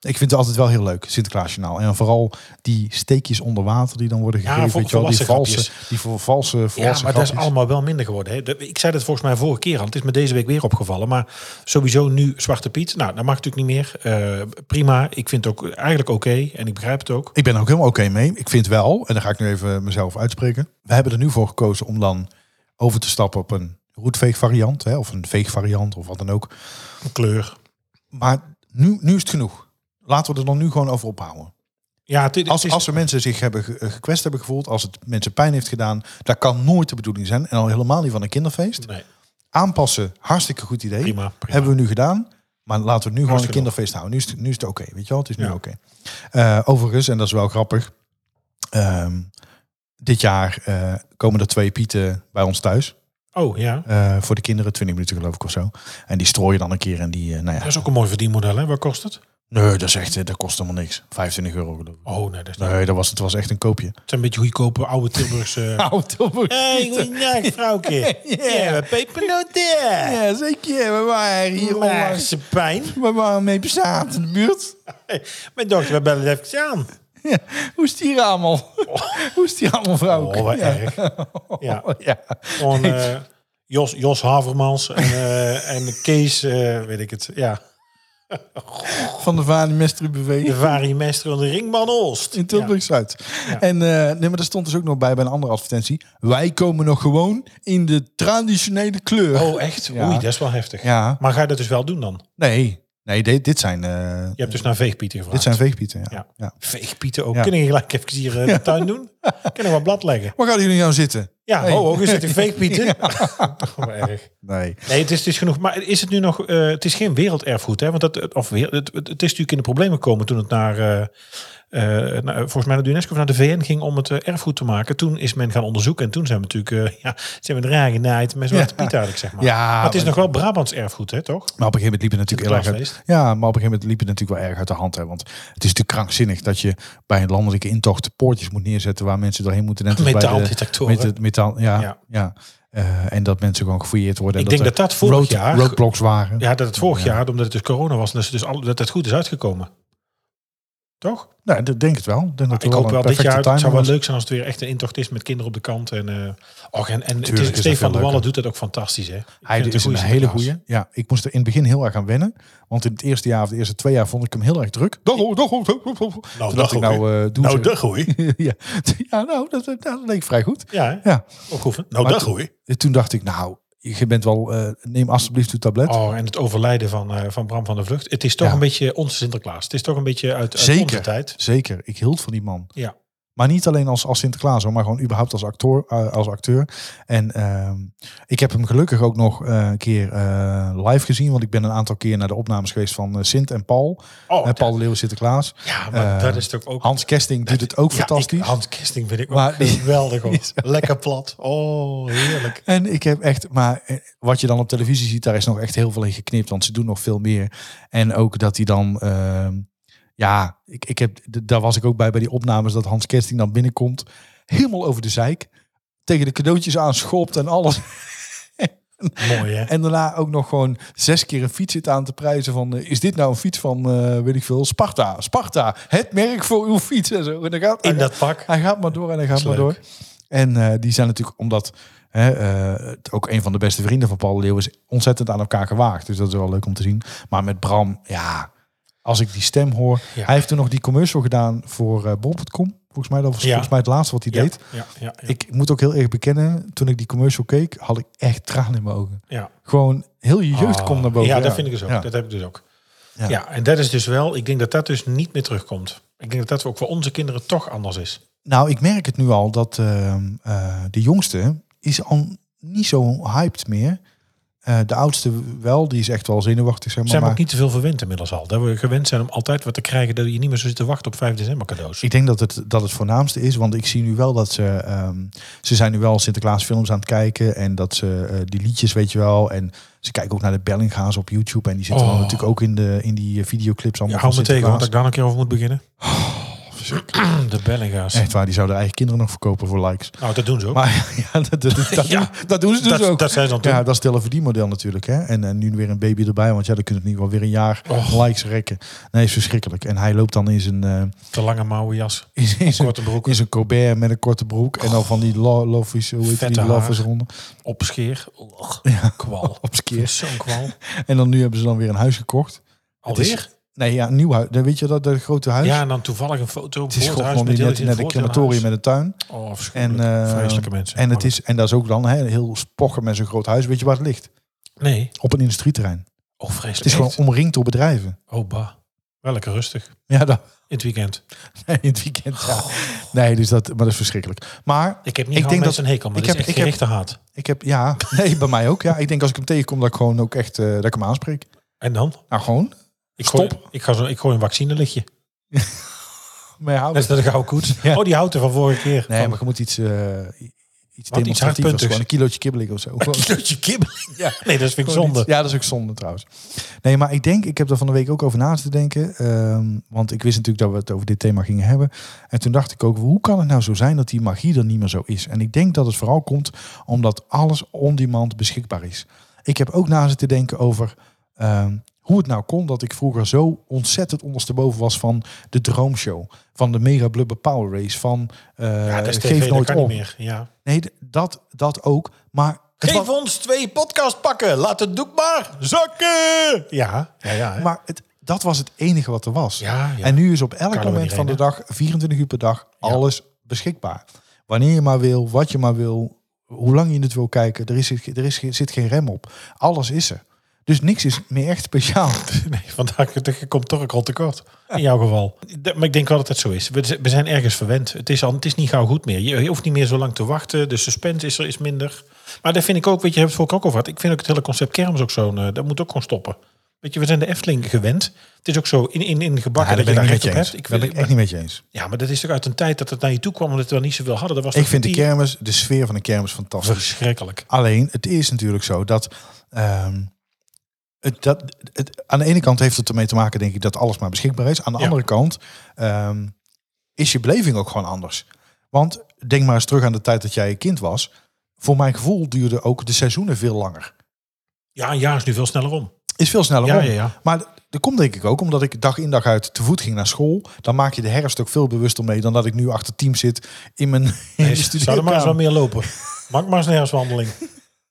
S1: Ik vind het altijd wel heel leuk, Sinterklaasjournaal. En dan vooral die steekjes onder water die dan worden
S2: Ja,
S1: gegeven.
S2: voor-
S1: weet je wel, die
S2: volwassen grapjes.
S1: valse, die voor valse,
S2: Ja, maar
S1: valse
S2: dat is
S1: grapjes.
S2: allemaal wel minder geworden. Hè. Dat- Ik zei dat volgens mij vorige keer al. Het is me deze week weer opgevallen. Maar sowieso nu Zwarte Piet. Nou, dat mag natuurlijk niet meer. Eh, prima. Ik vind het ook eigenlijk oké. en ik begrijp het ook.
S1: Ik ben er ook helemaal oké mee. Ik vind wel, en dan ga ik nu even mezelf uitspreken. We hebben er nu voor gekozen om dan over te stappen op een roetveegvariant. Hè, of een veegvariant of wat dan ook.
S2: Kleur.
S1: Maar nu, nu is het genoeg. Laten we er dan nu gewoon over ophouden.
S2: Ja, het, het
S1: Als,
S2: is,
S1: als er mensen zich hebben ge- eh, gekwetst hebben gevoeld, als het mensen pijn heeft gedaan, dat kan nooit de bedoeling zijn. En al helemaal niet van een kinderfeest.
S2: nee,
S1: Aanpassen, hartstikke goed idee.
S2: prima. prima.
S1: Hebben we nu gedaan. Maar laten we nu gewoon een
S2: Hartstikke
S1: kinderfeest houden. Nu is het, nu is het oké, weet je wel? Het is nu
S2: Ja.
S1: oké. Eh, overigens, en dat is wel grappig. ehm, dit jaar eh, komen er twee pieten bij ons thuis.
S2: Oh ja.
S1: eh, voor de kinderen, 20 minuten geloof ik of zo. En die strooien dan een keer en die... eh, nou ja,
S2: Dat is ook een mooi verdienmodel, hè? Wat kost het?
S1: nee, dat, is echt, eh, dat kost helemaal niks. 25 euro geloof ik.
S2: Oh nee, dat is niet.
S1: Nee, dat was, het was echt een koopje.
S2: Het zijn een beetje goedkope oude Tilburgse...
S1: Nou, Tilburg.
S2: hey, goeiedag, vrouwtje. Ja, pepernoten.
S1: Ja, zeker. We waren hier onlangs.
S2: Maagse pijn.
S1: We waren mee bestaand in de buurt.
S2: Hey, Mijn dochter, we bellen het even aan.
S1: Ja. Hoe is het hier allemaal? Hoe is het hier allemaal, vrouw?
S2: Oh, wat
S1: ja. Oh,
S2: erg. Ja.
S1: ja.
S2: Gewoon, eh, Jos, Jos Havermans en, eh, en Kees, eh, weet ik het. Ja.
S1: Van de Vanemestru BV
S2: De varimeester van de Ringman Oost.
S1: in Tilburg-Zuid. En eh, nee, maar er stond dus ook nog bij bij een andere advertentie. Wij komen nog gewoon in de traditionele kleur.
S2: Ja. Oh, echt?
S1: Ja.
S2: Oei, dat is wel heftig.
S1: Ja,
S2: Maar ga je dat dus wel doen dan?
S1: nee. Nee, dit, dit zijn, eh,
S2: Je hebt dus naar veegpieten gevraagd.
S1: dit zijn veegpieten. Ja.
S2: Ja.
S1: Ja.
S2: veegpieten ook.
S1: Ja.
S2: Kunnen je gelijk even hier eh, de tuin doen? Kunnen we wat blad leggen?
S1: Waar gaan jullie nou zitten?
S2: Ja,
S1: Hey.
S2: ho, ho, je zit in veegpieten. Toch wel erg.
S1: Nee.
S2: Nee, het is, het is genoeg. Maar is het nu nog... eh, het is geen werelderfgoed, hè? Want dat, of, weer- het, het het is natuurlijk in de problemen gekomen toen het naar... eh, eh, naar- volgens mij naar de UNESCO of naar de VN ging om het eh, erfgoed te maken. Toen is men gaan onderzoeken. En toen zijn we natuurlijk... eh, ja, zijn we raar genaaid met Zwarte Piet eigenlijk, zeg maar.
S1: Ja,
S2: maar het is
S1: maar-
S2: nog wel Brabants erfgoed, hè, toch?
S1: Maar op een gegeven moment liep het natuurlijk heel erg uit.
S2: Sinterklaasfeest.
S1: Ja, maar op een gegeven moment liep het natuurlijk wel erg uit de hand. Hè, want het is natuurlijk krankzinnig dat je bij een landelijke intocht poortjes moet neerzetten waar mensen doorheen moeten. Net als bij de-
S2: Metaaldetectoren.
S1: Met het metaal, ja. ja.
S2: Ja.
S1: Eh, en dat mensen gewoon gefouilleerd worden. en
S2: Ik denk dat
S1: er
S2: dat vorig
S1: road-
S2: jaar-
S1: Roadblocks waren.
S2: Ja, dat het vorig jaar, omdat het dus corona was, en dat, ze dus al, dat het goed is uitgekomen. Toch?
S1: Nou, dat denk ik wel. Ik Denk dat er
S2: ik hoop
S1: een
S2: wel dit
S1: perfecte
S2: jaar. Het zou
S1: timing
S2: wel
S1: was.
S2: leuk zijn als het weer echt een intocht is met kinderen op de kant. En, eh, och, en, en het
S1: Tuurlijk
S2: is-
S1: is dat veel
S2: Stefan de Wallen
S1: leuker.
S2: doet dat ook fantastisch. Hè? Ik
S1: Hij
S2: vind het
S1: is een
S2: goeie
S1: hele
S2: Sinterklaas.
S1: goeie. Ja, ik moest er in het begin heel erg aan wennen. Want in het eerste jaar of de eerste twee jaar vond ik hem heel erg druk. Dag, hoor, dag, hoor, dag, hoor, dag, hoor. Toen dacht
S2: dag,
S1: ik nou, eh, doe
S2: Nou,
S1: ze-
S2: dag hoor.
S1: ja, ja, nou, dat, dat, dat leek vrij goed.
S2: Ja, hè?
S1: Ja,
S2: opgeoefend. Nou,
S1: Maar
S2: dag
S1: toen-
S2: hoor.
S1: toen dacht ik, nou, je bent wel, eh, neem alsjeblieft uw tablet.
S2: Oh, en het overlijden van, eh, van Bram van der Vlucht. Het is toch
S1: Ja.
S2: een beetje onze Sinterklaas. Het is toch een beetje uit, uit
S1: Zeker.
S2: onze tijd.
S1: Zeker, ik hield van die man.
S2: Ja.
S1: Maar niet alleen als, als Sinterklaas, hoor, maar gewoon überhaupt als acteur. eh, als acteur. En ehm, ik heb hem gelukkig ook nog eh, een keer eh, live gezien. Want ik ben een aantal keer naar de opnames geweest van eh, Sint en Paul.
S2: Oh,
S1: Eh, Paul de Leeuw Sinterklaas.
S2: ja, maar
S1: eh,
S2: dat is toch ook...
S1: Hans Kesting doet het ook
S2: Ja,
S1: fantastisch.
S2: Ik, Hans Kesting vind ik ook
S1: Maar die-
S2: geweldig. hoor.
S1: die is-
S2: Lekker plat. Oh, heerlijk.
S1: En ik heb echt, maar eh, wat je dan op televisie ziet, daar is nog echt heel veel in geknipt, want ze doen nog veel meer. En ook dat hij dan, ehm, ja, ik, ik heb, d- daar was ik ook bij bij die opnames dat Hans Kersting dan binnenkomt, helemaal over de zeik, tegen de cadeautjes aan schopt en alles.
S2: Mooi, hè?
S1: En daarna ook nog gewoon zes keer een fiets zit aan te prijzen van, eh, is dit nou een fiets van, eh, weet ik veel, Sparta, Sparta, het merk voor uw fiets en zo. En dan gaat,
S2: In dat pak.
S1: hij gaat maar door en hij gaat
S2: Is
S1: maar
S2: leuk.
S1: door. En eh, die zijn natuurlijk, omdat hè, eh, het ook een van de beste vrienden van Paul de Leeuw is, ontzettend aan elkaar gewaagd. Dus dat is wel leuk om te zien. Maar met Bram, ja, als ik die stem hoor.
S2: Ja.
S1: Hij heeft toen nog die commercial gedaan voor eh, bol.com. Volgens mij, dat was
S2: Ja.
S1: volgens mij het laatste wat hij
S2: Ja,
S1: deed.
S2: ja, ja, ja.
S1: Ik moet ook heel erg bekennen, toen ik die commercial keek, had ik echt tranen in mijn ogen.
S2: ja.
S1: Gewoon heel je jeugd komt naar boven.
S2: Ah. Ja, dat vind ik dus ook.
S1: Ja.
S2: Dat heb ik dus ook.
S1: Ja.
S2: Ja. en dat is dus wel... Ik denk dat dat dus niet meer terugkomt. Ik denk dat dat ook voor onze kinderen toch anders is.
S1: Nou, ik merk het nu al dat ehm, eh, de jongste is al niet zo hyped meer. Eh, de oudste wel, die is echt wel zenuwachtig, zeg maar.
S2: zijn we
S1: maar
S2: ook niet te veel verwend inmiddels al. Dat we gewend zijn om altijd wat te krijgen... dat je niet meer zo zit te wachten op 5 december cadeaus.
S1: Ik denk dat het, dat het voornaamste is, want ik zie nu wel dat ze... ehm, ze zijn nu wel Sinterklaasfilms aan het kijken en dat ze eh, die liedjes, weet je wel. En ze kijken ook naar de Bellinga's op YouTube en die zitten
S2: Oh.
S1: dan natuurlijk ook in, de, in die eh, videoclips
S2: Ja,
S1: allemaal
S2: hou
S1: van
S2: me tegen, want
S1: Sinterklaas.
S2: ik daar een keer over moet beginnen.
S1: Oh, Verschrikkelijk.
S2: De Bellinga's.
S1: Echt waar, die zouden eigen kinderen nog verkopen voor likes.
S2: Nou, dat doen ze ook.
S1: Maar ja, dat, dat, dat,
S2: Ja,
S1: doen, dat doen ze dus
S2: dat,
S1: ook.
S2: dat zijn ze dan
S1: Ja,
S2: toen.
S1: dat is het hele verdienmodel natuurlijk. Hè? En, en nu weer een baby erbij, want ja, dan kunt het niet wel weer een jaar
S2: Och.
S1: likes rekken. Nee, is verschrikkelijk. En hij loopt dan in zijn, eh,
S2: Te lange mouwen jas.
S1: in, in zijn,
S2: Korte broek.
S1: in zijn Colbert met een korte broek. En dan van die lo- loffies, hoe heet
S2: Vette
S1: die
S2: haar. Oh.
S1: loffies ronden.
S2: Opscheer. Och, kwal.
S1: Op z'n keer.
S2: Ik vind Zo'n kwal.
S1: En dan nu hebben ze dan weer een huis gekocht. is-
S2: Alweer?
S1: Nee, ja, een nieuw huis. Dan Weet je dat, dat grote huis?
S2: Ja, en dan toevallig een foto.
S1: het is
S2: Voorthuis
S1: gewoon
S2: met
S1: nu
S2: heel
S1: net,
S2: in
S1: net een
S2: Voorthuis.
S1: crematorium met een tuin.
S2: Oh,
S1: En,
S2: afschuwelijk.
S1: eh,
S2: Vreselijke mensen.
S1: En, het
S2: Oh,
S1: is, en dat is ook dan hè, heel spokken met zo'n groot huis. Weet je waar het ligt?
S2: Oh, Nee.
S1: Op een industrieterrein.
S2: Oh, vreselijk.
S1: Het is gewoon omringd door bedrijven.
S2: Oh, bah. Wel lekker rustig.
S1: Ja, dan,
S2: In het weekend.
S1: in het weekend. ja.
S2: Oh.
S1: Nee, dus dat, maar dat is verschrikkelijk. Maar
S2: Ik heb niet
S1: Ik
S2: ik
S1: denk
S2: mensen
S1: dat-
S2: een hekel, maar
S1: ik
S2: ik
S1: heb-
S2: dit is echt
S1: ik heb-
S2: gerichte haat.
S1: ik heb, ja, nee, bij mij ook. Ja, ik denk als ik hem tegenkom dat ik gewoon ook echt, eh, dat ik hem aanspreek.
S2: En dan?
S1: Nou, gewoon.
S2: Ik gooi,
S1: Stop.
S2: ik, ga zo, ik gooi een vaccinelichtje.
S1: Maar ja,
S2: Dat is dat een gouden koets.
S1: Ja.
S2: Oh, die houten van vorige keer.
S1: nee,
S2: Van-
S1: maar je moet iets, eh iets
S2: Wat, iets
S1: demonstratiefs.
S2: hardpuntigs.
S1: Gewoon een kilootje kibbeling of zo.
S2: Een
S1: Gewoon-
S2: kilootje kibbeling.
S1: Ja.
S2: Nee, dat vind ik
S1: Gewoon
S2: zonde.
S1: niet. Ja, dat is ook zonde trouwens. Nee, maar ik denk, ik heb er van de week ook over na te denken. ehm, want ik wist natuurlijk dat we het over dit thema gingen hebben. En toen dacht ik ook, hoe kan het nou zo zijn dat die magie er niet meer zo is? En ik denk dat het vooral komt omdat alles on-demand beschikbaar is. Ik heb ook na zitten denken over ehm, hoe het nou kon dat ik vroeger zo ontzettend ondersteboven was van de droomshow. Van de mega blubber power race. Van eh,
S2: Ja, dat is
S1: geef
S2: tv, dat
S1: nooit
S2: kan niet
S1: om.
S2: meer. Ja.
S1: Nee, d- dat, dat ook. Maar het was-
S2: Geef ons twee podcastpakken. Laat het doek maar zakken. Ja, ja, ja. hè.
S1: Maar het, dat was het enige wat er was.
S2: Ja, ja.
S1: En nu is op elk
S2: Kan er
S1: moment
S2: niet
S1: van de
S2: heen,
S1: dag, 24 uur per dag, alles beschikbaar. Wanneer je maar wil, wat je maar wil, hoe lang je het wil kijken, er, is, er is, er zit geen rem op. Alles is er. Dus niks is meer echt speciaal.
S2: Nee, vandaag je komt toch ook al tekort. In jouw geval. Dat- Maar ik denk wel dat het zo is. We z- we zijn ergens verwend. Het is, al, het is niet gauw goed meer. Je je hoeft niet meer zo lang te wachten. De suspense is er is minder. Maar dat vind ik ook, weet je, je hebt het vorige ook over gehad. Ik vind ook het hele concept kermis ook zo'n... eh, Dat moet ook gewoon stoppen. Weet je, we zijn de Efteling gewend. Het is ook zo in, in, in gebakken dat je daar recht op hebt. Ik
S1: ben
S2: wil,
S1: ik echt niet met je eens.
S2: ja, maar dat is toch uit een tijd dat het naar je toe kwam... omdat we niet zoveel hadden. Dat was
S1: Ik
S2: toch
S1: vind de
S2: die-
S1: kermis, de sfeer van de kermis fantastisch.
S2: Verschrikkelijk.
S1: Alleen, het is natuurlijk zo dat... ehm, het, dat het, aan de ene kant heeft het ermee te maken, denk ik, dat alles maar beschikbaar is. Aan de
S2: Ja.
S1: andere kant ehm, is je beleving ook gewoon anders. Want denk maar eens terug aan de tijd dat jij een kind was. Voor mijn gevoel duurden ook de seizoenen veel langer.
S2: Ja, een jaar is nu veel sneller om.
S1: Is veel sneller
S2: Ja,
S1: om.
S2: ja, ja.
S1: Maar dat komt denk ik ook omdat ik dag in dag uit te voet ging naar school. Dan maak je de herfst ook veel bewuster mee dan dat ik nu achter team zit in mijn in de
S2: Nee, zou er maar eens
S1: studeerkamer.
S2: wat meer lopen. Maak maar eens een herfstwandeling.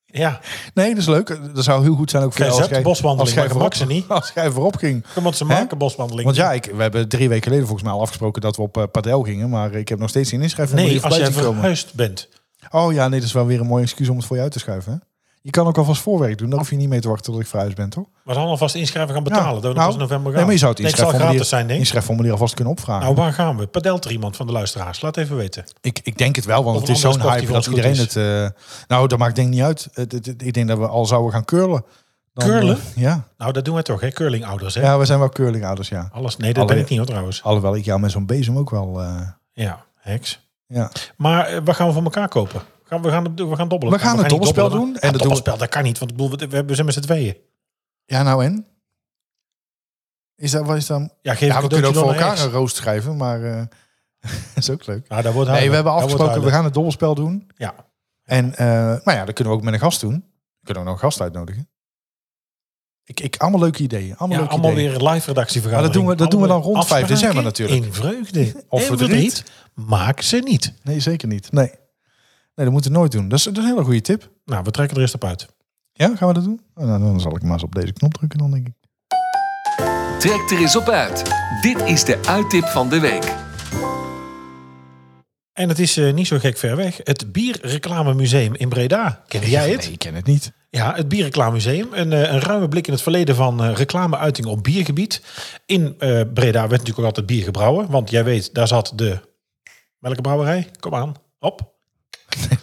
S2: Ja.
S1: Nee, dat is leuk. Dat zou heel goed zijn ook voor
S2: Krijg
S1: jou
S2: je zelf de
S1: jij-
S2: boswandeling,
S1: als jij
S2: maar dat
S1: voorop,
S2: mag ze niet.
S1: als jij voorop ging.
S2: Want ze
S1: Hè?
S2: maken boswandeling.
S1: Want ja, ik, we hebben drie weken geleden volgens mij al afgesproken dat we op eh, padel gingen. Maar ik heb nog steeds geen inschrijving om
S2: nee,
S1: hier
S2: als
S1: voorbij
S2: jij
S1: te komen.
S2: verhuisd bent.
S1: Oh ja, nee, dat is wel weer een mooi excuus om het voor je uit te schuiven. Hè? Je kan ook alvast voorwerk doen. Daar hoef je niet mee te wachten tot ik verhuisd ben, toch?
S2: Maar dan alvast inschrijven gaan betalen.
S1: Ja,
S2: dat we
S1: nou,
S2: pas in november gaan.
S1: Nee, maar je zou het
S2: Nee, het zal
S1: inschrijfformulier,
S2: gratis zijn, denk ik.
S1: inschrijfformulier alvast kunnen opvragen.
S2: Nou, waar gaan we? Padelt er iemand van de luisteraars? Laat even weten.
S1: ik, ik denk het wel, want
S2: Of
S1: het
S2: een
S1: is
S2: andere
S1: zo'n
S2: sport die
S1: hype dat
S2: voor ons
S1: iedereen
S2: goed
S1: het... eh, nou, dat maakt denk ik niet uit. Het- het- het- ik denk dat we al zouden gaan curlen. Dan,
S2: Curlen?
S1: eh, ja.
S2: Nou, dat doen we toch, hè? Curlingouders, hè?
S1: ja, we zijn wel curlingouders, ja.
S2: Alles. Nee, dat
S1: Alle-
S2: ben ik niet, hoor, trouwens.
S1: Alhoewel ik jou met zo'n bezem ook wel... eh,
S2: Ja, heks.
S1: ja.
S2: Maar eh, wat gaan we van elkaar kopen? Gaan we, gaan, we gaan dobbelen.
S1: We gaan het
S2: niet
S1: dobbelspel
S2: dobbelen,
S1: doen.
S2: maar-
S1: En
S2: Ah,
S1: dat doen we-
S2: dobbelspel, dat kan niet. Want ik bedoel, we, we hebben- we zijn met z'n tweeën.
S1: ja, nou en? Is dat, wat is dan,
S2: Ja, geef
S1: Ja,
S2: een
S1: we kunnen ook voor
S2: cadeautje dan aan
S1: elkaar
S2: Heks.
S1: een roost schrijven, maar eh, dat is ook leuk.
S2: Ah, daar wordt
S1: Nee,
S2: huilen.
S1: we hebben
S2: Daar wordt
S1: afgesproken, we
S2: huilen.
S1: gaan het dobbelspel doen.
S2: Ja.
S1: En, eh nou ja, dat kunnen we ook met een gast doen. Kunnen we nog een gast uitnodigen. Ik, ik, allemaal leuke ideeën. Allemaal
S2: Ja,
S1: leuke
S2: allemaal
S1: ideeën.
S2: weer live
S1: Maar dat
S2: redactievergadering.
S1: doen we- dat doen we dan rond 5 december
S2: Afspraken
S1: natuurlijk.
S2: In vreugde.
S1: Of
S2: en
S1: verdriet.
S2: Maak ze niet.
S1: Nee, zeker niet. Nee. Nee, dat moeten we nooit doen. Dat is, dat is een hele goede tip.
S2: Nou, we trekken er eerst op uit.
S1: Ja, gaan we dat doen? Oh, nou, dan zal ik maar eens op deze knop drukken dan, denk ik.
S3: Trek er eens op uit. Dit is de uittip van de week.
S2: En het is eh, niet zo gek ver weg. Het Bierreclamemuseum in Breda. Ken jij het?
S1: Nee, ik ken het niet.
S2: Ja, het Bierreclamemuseum. Een, eh, een ruime blik in het verleden van eh, reclameuitingen op biergebied. In eh, Breda werd natuurlijk ook altijd bier gebrouwen. Want jij weet, daar zat de... Welke brouwerij? Kom aan. Op.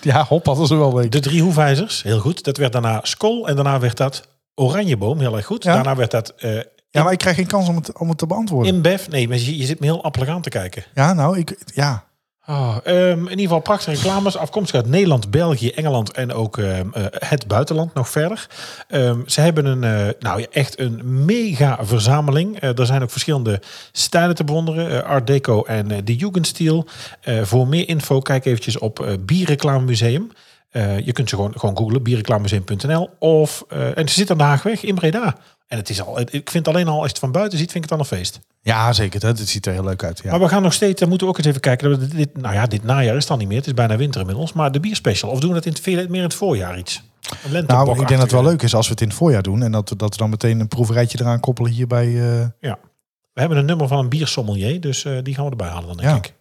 S1: Ja, hop, hadden ze wel weten.
S2: De drie hoefijzers. Heel goed. Dat werd daarna Skol. En daarna werd dat Oranjeboom. Heel erg goed.
S1: Ja.
S2: Daarna werd dat... eh
S1: Ja, maar ik krijg geen kans om het, om het te beantwoorden.
S2: in Bev, nee, maar je, je zit me heel appelig aan te kijken.
S1: Ja, nou, ik... Ja.
S2: Ah, ehm, in ieder geval prachtige reclames. Afkomstig uit Nederland, België, Engeland en ook ehm, eh, het buitenland nog verder. Ehm, ze hebben een, eh, nou ja, echt een mega verzameling. Eh, er zijn ook verschillende stijlen te bewonderen. eh, Art Deco en eh, de Jugendstil. Eh, voor meer info kijk eventjes op eh Bierreclamemuseum. Eh, je kunt ze gewoon, gewoon googlen, bierreclamemuseum.nl. Of, eh, en ze zitten aan de Haagweg in Breda. En het is al, ik vind alleen al, als je het van buiten ziet, vind ik het al een feest.
S1: Ja, zeker. Dat, het ziet er heel leuk uit. Ja.
S2: Maar we gaan nog steeds, dan moeten we ook eens even kijken. dat we Dit, nou ja, dit najaar is dan niet meer. Het is bijna winter inmiddels. Maar de bierspecial. Of doen we dat in het, veel- meer in het voorjaar iets?
S1: Nou, ik
S2: Een
S1: denk dat het
S2: lentebokachtige.
S1: wel leuk is als we het in het voorjaar doen. En dat, we- dat we dan meteen een proeverijtje eraan koppelen hier bij... eh,
S2: Ja. We hebben een nummer van een biersommelier. Dus eh, die gaan we erbij halen dan, denk
S1: Ja.
S2: ik.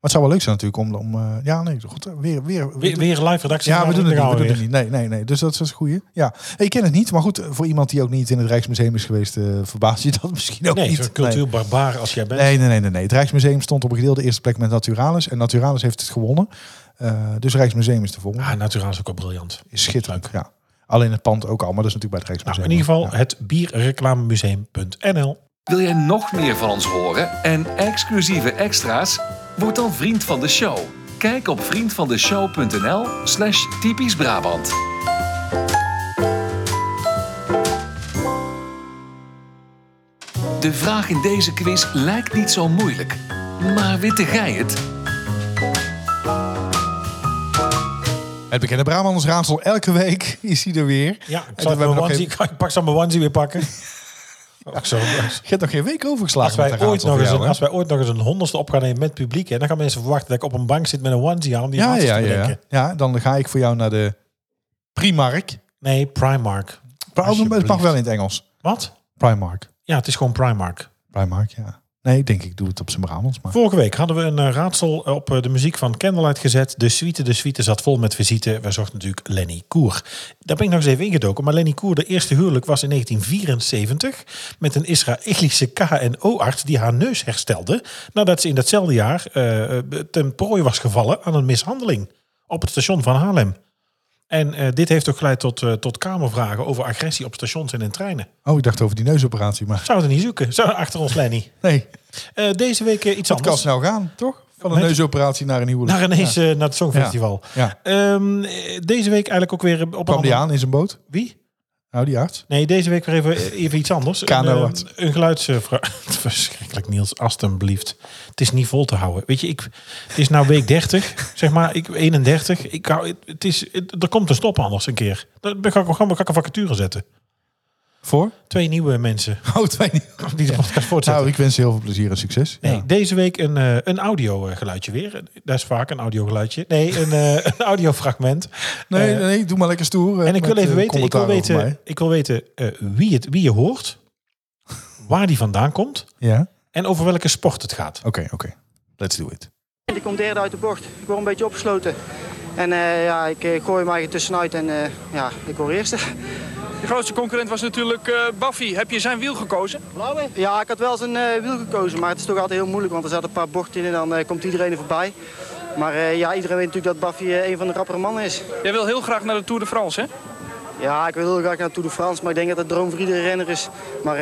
S1: Maar het zou wel leuk zijn natuurlijk om... om eh, ja, nee, goed, weer, weer,
S2: Weer, weer live redactie.
S1: ja, we doen het
S2: Dan
S1: niet. We
S2: gaan
S1: doen het
S2: weer.
S1: niet. Nee, nee, nee. Dus dat is een goeie. Ja, ik ken het niet. Maar goed, eh, voor iemand die ook niet in het Rijksmuseum is geweest, eh verbaast je dat misschien ook
S2: Nee,
S1: niet.
S2: zo'n cultuurbarbaar als jij bent.
S1: Nee, nee, nee, nee, nee. Het Rijksmuseum stond op een gedeelde eerste plek met Naturalis. En Naturalis heeft het gewonnen. Eh, dus Rijksmuseum is de volgende.
S2: Ah, natuurlijk is ook wel briljant.
S1: is schitterend. Ja. Alleen het pand ook al, maar dat is natuurlijk bij het
S2: Nou,
S1: Rijksmuseum.
S2: in ieder geval
S1: Ja.
S2: het bierreclamemuseum.nl.
S3: Wil jij nog meer van ons horen en exclusieve extra's? Word dan vriend van de show. Kijk op vriendvandeshow.nl slash typisch Brabant. De vraag in deze quiz lijkt niet zo moeilijk. Maar witte gij het?
S1: Het bekende Brabanders raadsel. Elke week is hij er weer.
S2: Ja, ik,
S1: En we
S2: zal even mijn
S1: hebben nog
S2: onesie,
S1: geen-
S2: ik pak zo mijn onesie weer pakken. Oh, Ook zo.
S1: Je hebt nog geen week
S2: Als
S1: overgeslagen met
S2: wij,
S1: dat
S2: ooit
S1: raadsel
S2: nog
S1: voor
S2: eens een,
S1: jou, hè?
S2: als wij ooit nog eens een honderdste op gaan nemen met publiek, hè, dan gaan mensen verwachten dat ik op een bank zit met een onesie aan om die
S1: Ja,
S2: raadsels
S1: ja,
S2: te
S1: ja.
S2: bedenken.
S1: ja, dan ga ik voor jou naar de Primark.
S2: Nee, Primark.
S1: Maar ook- Het mag
S2: Alsjeblieft.
S1: wel in het Engels.
S2: Wat?
S1: Primark.
S2: Ja, het is gewoon Primark.
S1: Primark, ja. Nee, ik denk ik doe het op zijn Brabants. Maar...
S2: Vorige week hadden we een eh, raadsel op eh, de muziek van Candlelight gezet. De suite, de suite zat vol met visite. Wij zochten natuurlijk Lenny Koer. Daar ben ik nog eens even ingedoken. Maar Lenny Koer, de eerste huwelijk was in 1974 met een Israëlische KNO-arts die haar neus herstelde nadat ze in datzelfde jaar eh, eh, ten prooi was gevallen aan een mishandeling op het station van Haarlem. En eh, dit heeft ook geleid tot, eh, tot kamervragen over agressie op stations en in treinen.
S1: Oh, ik dacht over die neusoperatie, maar
S2: Zouden we het niet zoeken? Zou achter ons Lenny?
S1: nee.
S2: Eh, deze week eh,
S1: Het
S2: iets
S1: kan
S2: anders.
S1: snel gaan, toch? Van een
S2: Met-
S1: neusoperatie naar een huwelijk.
S2: Naar ineens eh, naar het Songfestival.
S1: Ja.
S2: Ehm, eh, deze week eigenlijk ook weer op
S1: Kwam
S2: een
S1: die
S2: ander-
S1: aan in zijn boot?
S2: Wie?
S1: Nou, die arts.
S2: Nee, deze week weer even, even iets anders.
S1: Kano
S2: Een,
S1: wat.
S2: eh, een geluidsvraag. Verschrikkelijk, Niels, alstublieft. Het is niet vol te houden. Weet je, ik, het is nou week 30, zeg maar, ik 31. Ik hou, het, het is, het- er komt een stop anders een keer. Dan ga ik gewoon ga ik een vacature zetten.
S1: Voor?
S2: Twee nieuwe mensen
S1: Oh, twee niet.
S2: die de podcast voortzetten.
S1: Nou, ik wens je heel veel plezier en succes.
S2: Nee,
S1: Nou, Ja.
S2: deze week een, eh, een audio eh, geluidje weer. Dat is vaak een audio geluidje. Nee, een, eh, een audiofragment.
S1: Nee,
S2: Eh,
S1: nee, doe maar lekker stoer. eh,
S2: En ik wil
S1: met,
S2: even
S1: eh,
S2: weten, ik wil
S1: commentaar over
S2: weten, ik wil weten eh, wie, het, wie je hoort, waar die vandaan komt
S1: mij. Ja?
S2: en over welke sport het gaat.
S1: Oké, oké. Let's do it.
S4: En Ik kom derde uit de bocht. Ik word een beetje opgesloten. En eh, ja, ik, eh, gooi hem eigen tussenuit en eh, ja, ik word eerste.
S5: De grootste concurrent was natuurlijk eh Baffy. Heb je zijn wiel gekozen?
S4: Ja, ik had wel zijn eh, wiel gekozen, maar het is toch altijd heel moeilijk, want er zaten een paar bochten in en dan eh, komt iedereen er voorbij. Maar eh, ja, iedereen weet natuurlijk dat Buffy eh, een van de rappere mannen is.
S5: Jij wil heel graag naar de Tour de France, hè?
S4: Ja, ik wil heel graag naar Tour de France, maar ik denk dat dat droom voor iedere renner is. Maar eh,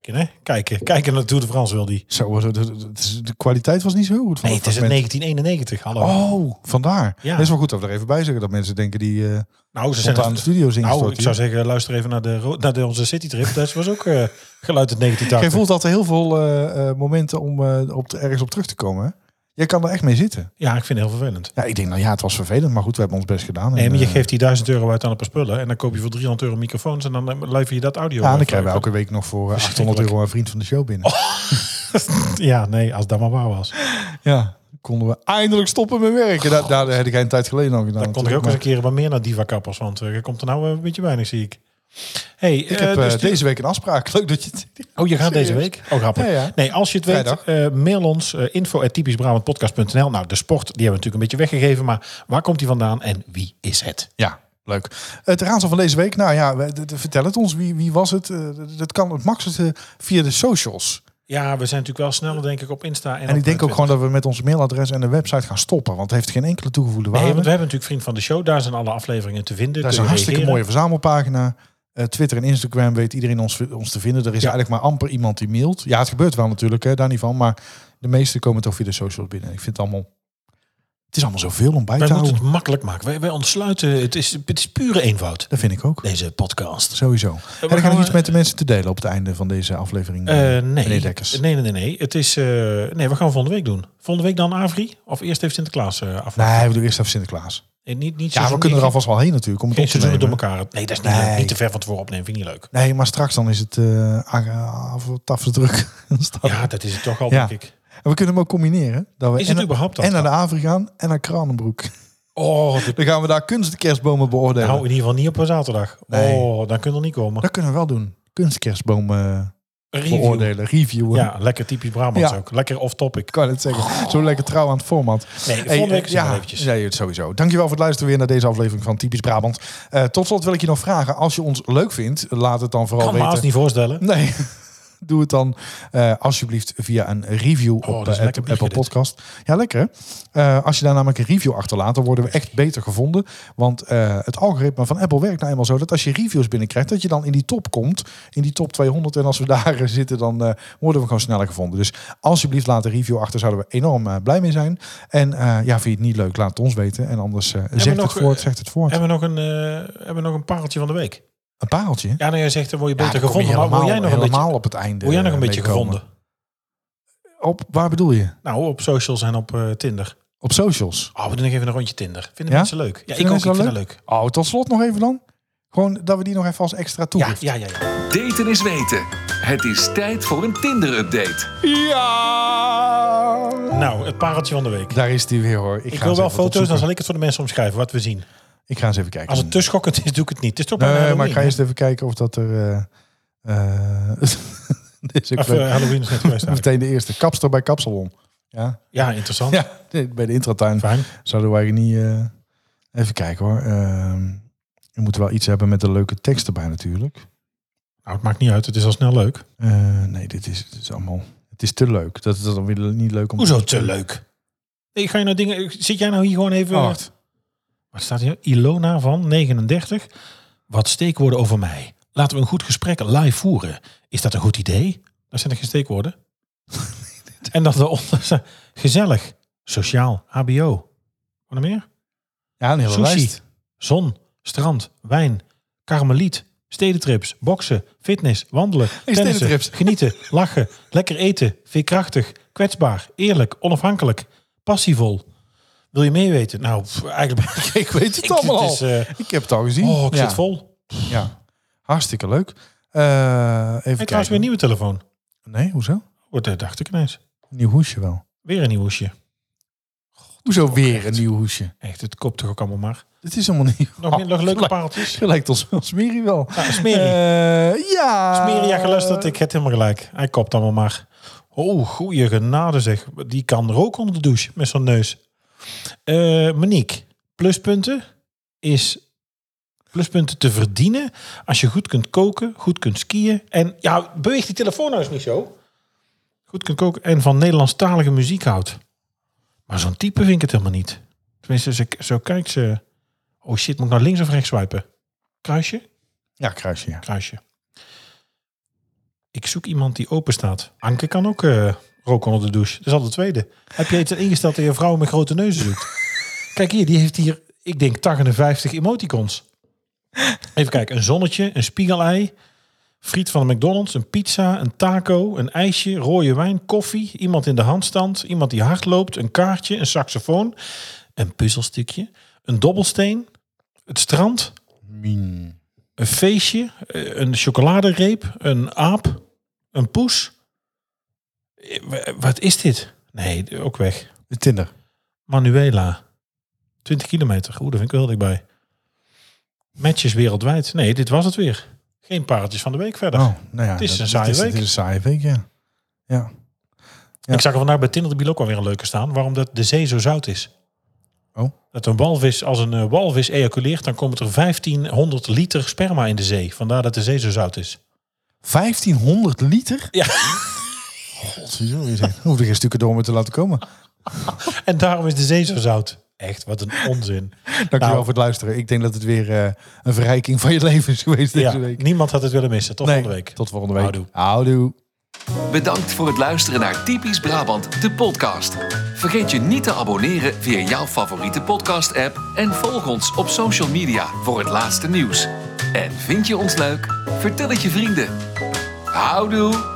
S2: Kijken, hè? Kijken, kijken naar de Tour de France wil die.
S1: Zo, was het- het- het- de kwaliteit was niet zo goed van
S2: Nee,
S1: dat
S2: het is het
S1: fragment.
S2: 1991, hallo.
S1: Oh, vandaar.
S2: Ja.
S1: Dat is wel goed dat we er even bij zeggen dat mensen denken die eh,
S2: nou, ze
S1: spontaan de studio zingen.
S2: Nou, ik zou zeggen, luister even naar, de, ro- naar de, onze citytrip. Dat was ook eh, geluid uit
S1: Jij
S2: 1980.
S1: voelt altijd heel veel eh, eh, momenten om eh, op, te- ergens op terug te komen. hè? Jij kan er echt mee zitten.
S2: Ja, ik vind het heel vervelend.
S1: Ja, ik denk, nou ja, het was vervelend, maar goed, we hebben ons best gedaan.
S2: Nee,
S1: En,
S2: maar je
S1: eh,
S2: geeft die 1000 euro uit aan een paar spullen en dan koop je voor 300 euro microfoons en dan eh, lever je dat audio.
S1: Ja, en
S2: eh,
S1: dan krijgen we
S2: voor-
S1: elke week nog voor eh, 800
S2: Verschrikkelijk. Oh.
S1: euro een vriend van de show binnen.
S2: Ja, nee, als dat maar waar was.
S1: Ja, konden we eindelijk stoppen met werken. Daar, daar had ik een tijd geleden al gedaan.
S2: Dan kon ik ook eens een
S1: natuurlijk,
S2: keer wat meer naar Diva Kappers, want eh, er komt er nou eh, een beetje weinig, zie ik. Hey,
S1: maar Ik heb
S2: eh,
S1: eh,
S2: dus
S1: deze week een afspraak. Leuk dat je het...
S2: Oh, je gaat
S1: Serieus?
S2: deze week? Oh, grappig.
S1: Ja, ja.
S2: Nee, als je het weet,
S1: Vrijdag.
S2: eh, mail ons eh info.typischbrabantpodcast.nl. Nou, de sport, die hebben we natuurlijk een beetje weggegeven, maar waar komt die vandaan en wie is het?
S1: Ja, leuk. Het raadsel van deze week. Nou ja, we- d- d- vertel het ons. Wie, wie was het? Eh, d- Dat kan het makkelijkste via de socials.
S2: Ja, we zijn natuurlijk wel sneller, denk ik, op Insta. En,
S1: En
S2: op,
S1: ik denk
S2: eh,
S1: ook gewoon dat we met ons mailadres en de website gaan stoppen. Want het heeft geen enkele toegevoegde
S2: Nee,
S1: waarde.
S2: want we hebben natuurlijk Vriend van de Show. Daar zijn alle afleveringen te vinden.
S1: Dat is
S2: kun
S1: een
S2: je
S1: hartstikke
S2: reageren.
S1: mooie verzamelpagina. Eh, Twitter en Instagram weet iedereen ons, ons te vinden. Er is
S2: Ja.
S1: eigenlijk maar amper iemand die mailt. Ja, het gebeurt wel natuurlijk, hè, daar niet van. Maar de meesten komen toch via de socials binnen. Ik vind het allemaal... Het is allemaal zoveel om bij te
S2: Wij moeten
S1: houden.
S2: het makkelijk maken. Wij, wij ontsluiten, het is, het is pure eenvoud,
S1: Dat vind ik ook.
S2: deze podcast.
S1: Sowieso. En dan
S2: gaan
S1: ga ik
S2: Eh, we-
S1: iets met de mensen te delen op het einde van deze aflevering.
S2: Eh, nee.
S1: Meneer Dekkers.
S2: Nee, nee, nee. nee. Het is, eh, nee, we gaan volgende week doen. Volgende week dan Avri? Of eerst even Sinterklaas eh af?
S1: Nee, we doen eerst even Sinterklaas.
S2: Eh, Niet, niet
S1: Ja, we
S2: seizoen-
S1: kunnen er
S2: geen-
S1: alvast wel heen natuurlijk. Om het
S2: Geen
S1: op te
S2: seizoenen door
S1: nemen.
S2: elkaar. Nee, dat is niet, leuk.
S1: Nee.
S2: niet te ver van tevoren opnemen. Vind ik niet leuk.
S1: Nee, maar straks dan is het eh aan- af- af te druk. Dan staat-
S2: Ja, dat is het toch al,
S1: Ja.
S2: denk ik.
S1: En we kunnen hem ook combineren. Dat we
S2: Is het
S1: en,
S2: überhaupt dat?
S1: en naar de Avri gaan en naar Kranenbroek.
S2: Oh, de-
S1: Dan gaan we daar kunstkerstbomen beoordelen.
S2: nou, in ieder geval niet op een zaterdag.
S1: Nee.
S2: Oh, dan kunnen we niet komen.
S1: dat kunnen we wel doen. Kunstkerstbomen. eh,
S2: Review.
S1: beoordelen, reviewen.
S2: Ja, lekker typisch Brabants
S1: Ja.
S2: ook. Lekker off-topic.
S1: Ik kan het zeggen. Zo lekker trouw aan het format.
S2: Nee, volgende week
S1: eh,
S2: zien we
S1: ja,
S2: wel eventjes.
S1: zei je het sowieso. Dankjewel voor het luisteren weer naar deze aflevering van Typisch Brabant. Eh, tot slot wil ik je nog vragen. Als je ons leuk vindt, laat het dan vooral
S2: Kan me haast
S1: weten.
S2: niet voorstellen.
S1: Nee. Doe het dan eh, alsjeblieft via een review
S2: Oh, dat
S1: op
S2: is
S1: eh,
S2: lekker
S1: Apple,
S2: bier
S1: Apple
S2: dit.
S1: Podcast. Ja, lekker. hè? Eh, als je daar namelijk een review achterlaat, dan worden we echt beter gevonden. Want eh, het algoritme van Apple werkt nou eenmaal zo dat als je reviews binnenkrijgt, dat je dan in die top komt. In die top 200. En als we daar eh, zitten, dan eh, worden we gewoon sneller gevonden. Dus alsjeblieft laat een review achter. Zouden we enorm eh, blij mee zijn. En eh, ja, vind je het niet leuk, laat het ons weten. En anders eh zegt het
S2: nog,
S1: voort,
S2: eh,
S1: zegt het voort.
S2: Hebben we nog een, eh, hebben we nog een pareltje van de week?
S1: Een paaltje.
S2: Ja, nou jij zegt, dan word je
S1: Ja,
S2: beter
S1: dan kom je
S2: gevonden. Maar word jij nog een
S1: helemaal
S2: beetje,
S1: op het einde.
S2: word jij nog een
S1: eh,
S2: beetje
S1: mee komen.
S2: gevonden?
S1: Op, waar bedoel je?
S2: Nou, op socials en op eh, Tinder.
S1: Op socials.
S2: Oh, we doen nog even een rondje Tinder. Vinden
S1: Ja?
S2: mensen leuk? Ja,
S1: Vinden
S2: ik ook. Ik
S1: mensen
S2: vind
S1: dat
S2: dat leuk.
S1: Oh, tot slot nog even dan. Gewoon dat we die nog even als extra
S2: Ja,
S1: toevoegen.
S2: ja, ja, ja.
S3: Daten is weten. Het is tijd voor een Tinder-update.
S2: Nou, het pareltje van de week.
S1: Daar is die weer hoor. Ik,
S2: Ik
S1: ga
S2: wil
S1: eens
S2: wel
S1: even wat
S2: foto's, dan
S1: opzoeken.
S2: zal ik het voor de mensen omschrijven wat we zien.
S1: Ik ga eens even kijken.
S2: Als het te schokkend is, doe ik het niet. Het is toch bijna
S1: nee, maar
S2: Halloween,
S1: ik ga
S2: hè?
S1: eerst even kijken of dat er... eh, eh, dit is ook
S2: Of,
S1: leuk.
S2: eh, Halloween is net geweest eigenlijk.
S1: Meteen de eerste. Kapster bij Kapsalon. Ja,
S2: Ja, interessant.
S1: ja bij de intratuin.
S2: Fijn.
S1: Zouden we eigenlijk niet... eh, even kijken hoor. Ehm we moeten wel iets hebben met een leuke tekst erbij natuurlijk.
S2: Nou, het maakt niet uit. Het is al snel leuk.
S1: Eh, nee, dit is, dit is allemaal... Het is te leuk. Dat is dan weer niet leuk om...
S2: Hoezo te leuk? Nee, ga je nou dingen... Zit jij nou hier gewoon even...
S1: Oh,
S2: Wat staat hier? Ilona van 39. Wat steekwoorden over mij. Laten we een goed gesprek live voeren. Is dat een goed idee? Dat zijn er geen steekwoorden. en dat daaronder... staat, Gezellig. Sociaal. HBO. Wat nog meer?
S1: Ja, een hele
S2: Sushi.
S1: lijst.
S2: Zon. Strand. Wijn. Karmeliet. Stedentrips. Boksen. Fitness. Wandelen. tennissen,
S1: stedentrips.
S2: Genieten. Lachen. Lekker eten. Veerkrachtig. Kwetsbaar. Eerlijk. Onafhankelijk. Passievol. Wil je meeweten? Nou, pff, eigenlijk ben ik...
S1: Ik weet het
S2: Ik-
S1: allemaal
S2: het
S1: al.
S2: is, eh,
S1: ik heb het al gezien.
S2: oh, ik
S1: ja.
S2: zit vol.
S1: Ja. Hartstikke leuk. Eh even
S2: En trouwens
S1: kijken.
S2: weer een nieuwe telefoon.
S1: Nee, hoezo?
S2: Oh, dat dacht ik ineens.
S1: Nieuw hoesje wel.
S2: Weer een nieuw hoesje.
S1: Hoezo weer een nieuw hoesje?
S2: Echt, het koopt toch ook allemaal maar.
S1: Het is helemaal nieuw.
S2: Nog, meer, nog leuke
S1: Gelijk-
S2: pareltjes.
S1: Gelijkt ons wel Smiri wel.
S2: Ja, Smeri.
S1: Eh, ja.
S2: Smeria geluisterd, ik heb helemaal gelijk. Hij kopt allemaal maar. Oh, goeie genade zeg. Die kan er ook onder de douche met zo'n neus. Eh Monique, pluspunten is pluspunten te verdienen als je goed kunt koken, goed kunt skiën en ja, beweeg die telefoon nou eens niet zo. Goed kunt koken en van Nederlandstalige muziek houdt. Maar zo'n type vind ik het helemaal niet. Tenminste, als ik zo kijk ze. Oh shit, moet ik nou links of rechts swipen? Kruisje?
S1: Ja, kruisje. Ja.
S2: kruisje. Ik zoek iemand die open staat. Anke kan ook eh, roken onder de douche. Dat is al de tweede. Heb je iets ingesteld dat je vrouwen met grote neuzen zoekt? Kijk hier, die heeft hier, ik denk, 58 emoticons. Even kijken, een zonnetje, een spiegelei, friet van de McDonald's, een pizza, een taco, een ijsje, rode wijn, koffie, iemand in de handstand, iemand die hardloopt, een kaartje, een saxofoon, een puzzelstukje, een dobbelsteen, het strand,
S1: Mien.
S2: een feestje, eh, een chocoladereep, een aap, een poes. Eh, wa- Wat is dit? Nee, ook weg.
S1: De Tinder.
S2: Manuela. 20 kilometer. Oeh, daar vind ik wel dichtbij. Matches wereldwijd. Nee, dit was het weer. Geen pareltjes van de week verder.
S1: Oh, nou ja.
S2: Het is
S1: dat-
S2: een saaie
S1: het is,
S2: week.
S1: Het is een saaie week, ja. Ja. ja.
S2: Ik zag er vandaag bij Tinder de Biel ook alweer een leuke staan. Waarom dat de zee zo zout is.
S1: Oh.
S2: Dat een walvis, als een eh, walvis ejaculeert, dan komt er 1500 liter sperma in de zee. Vandaar dat de zee zo zout is.
S1: 1500 liter?
S2: Ja.
S1: Godverdomme, je zegt, Hoef er geen stukken door om het te laten komen.
S2: En daarom is de zee zo zout. Echt, wat een onzin.
S1: Dankjewel
S2: Nou.
S1: voor het luisteren. Ik denk dat het weer eh, een verrijking van je leven is geweest deze
S2: ja,
S1: week.
S2: Niemand had het willen missen. Tot volgende week.
S1: Tot volgende week.
S2: Houdoe.
S1: Houdoe.
S3: Bedankt voor het luisteren naar Typisch Brabant, de podcast. Vergeet je niet te abonneren via jouw favoriete podcast-app en volg ons op social media voor het laatste nieuws. En vind je ons leuk? Vertel het je vrienden. Houdoe!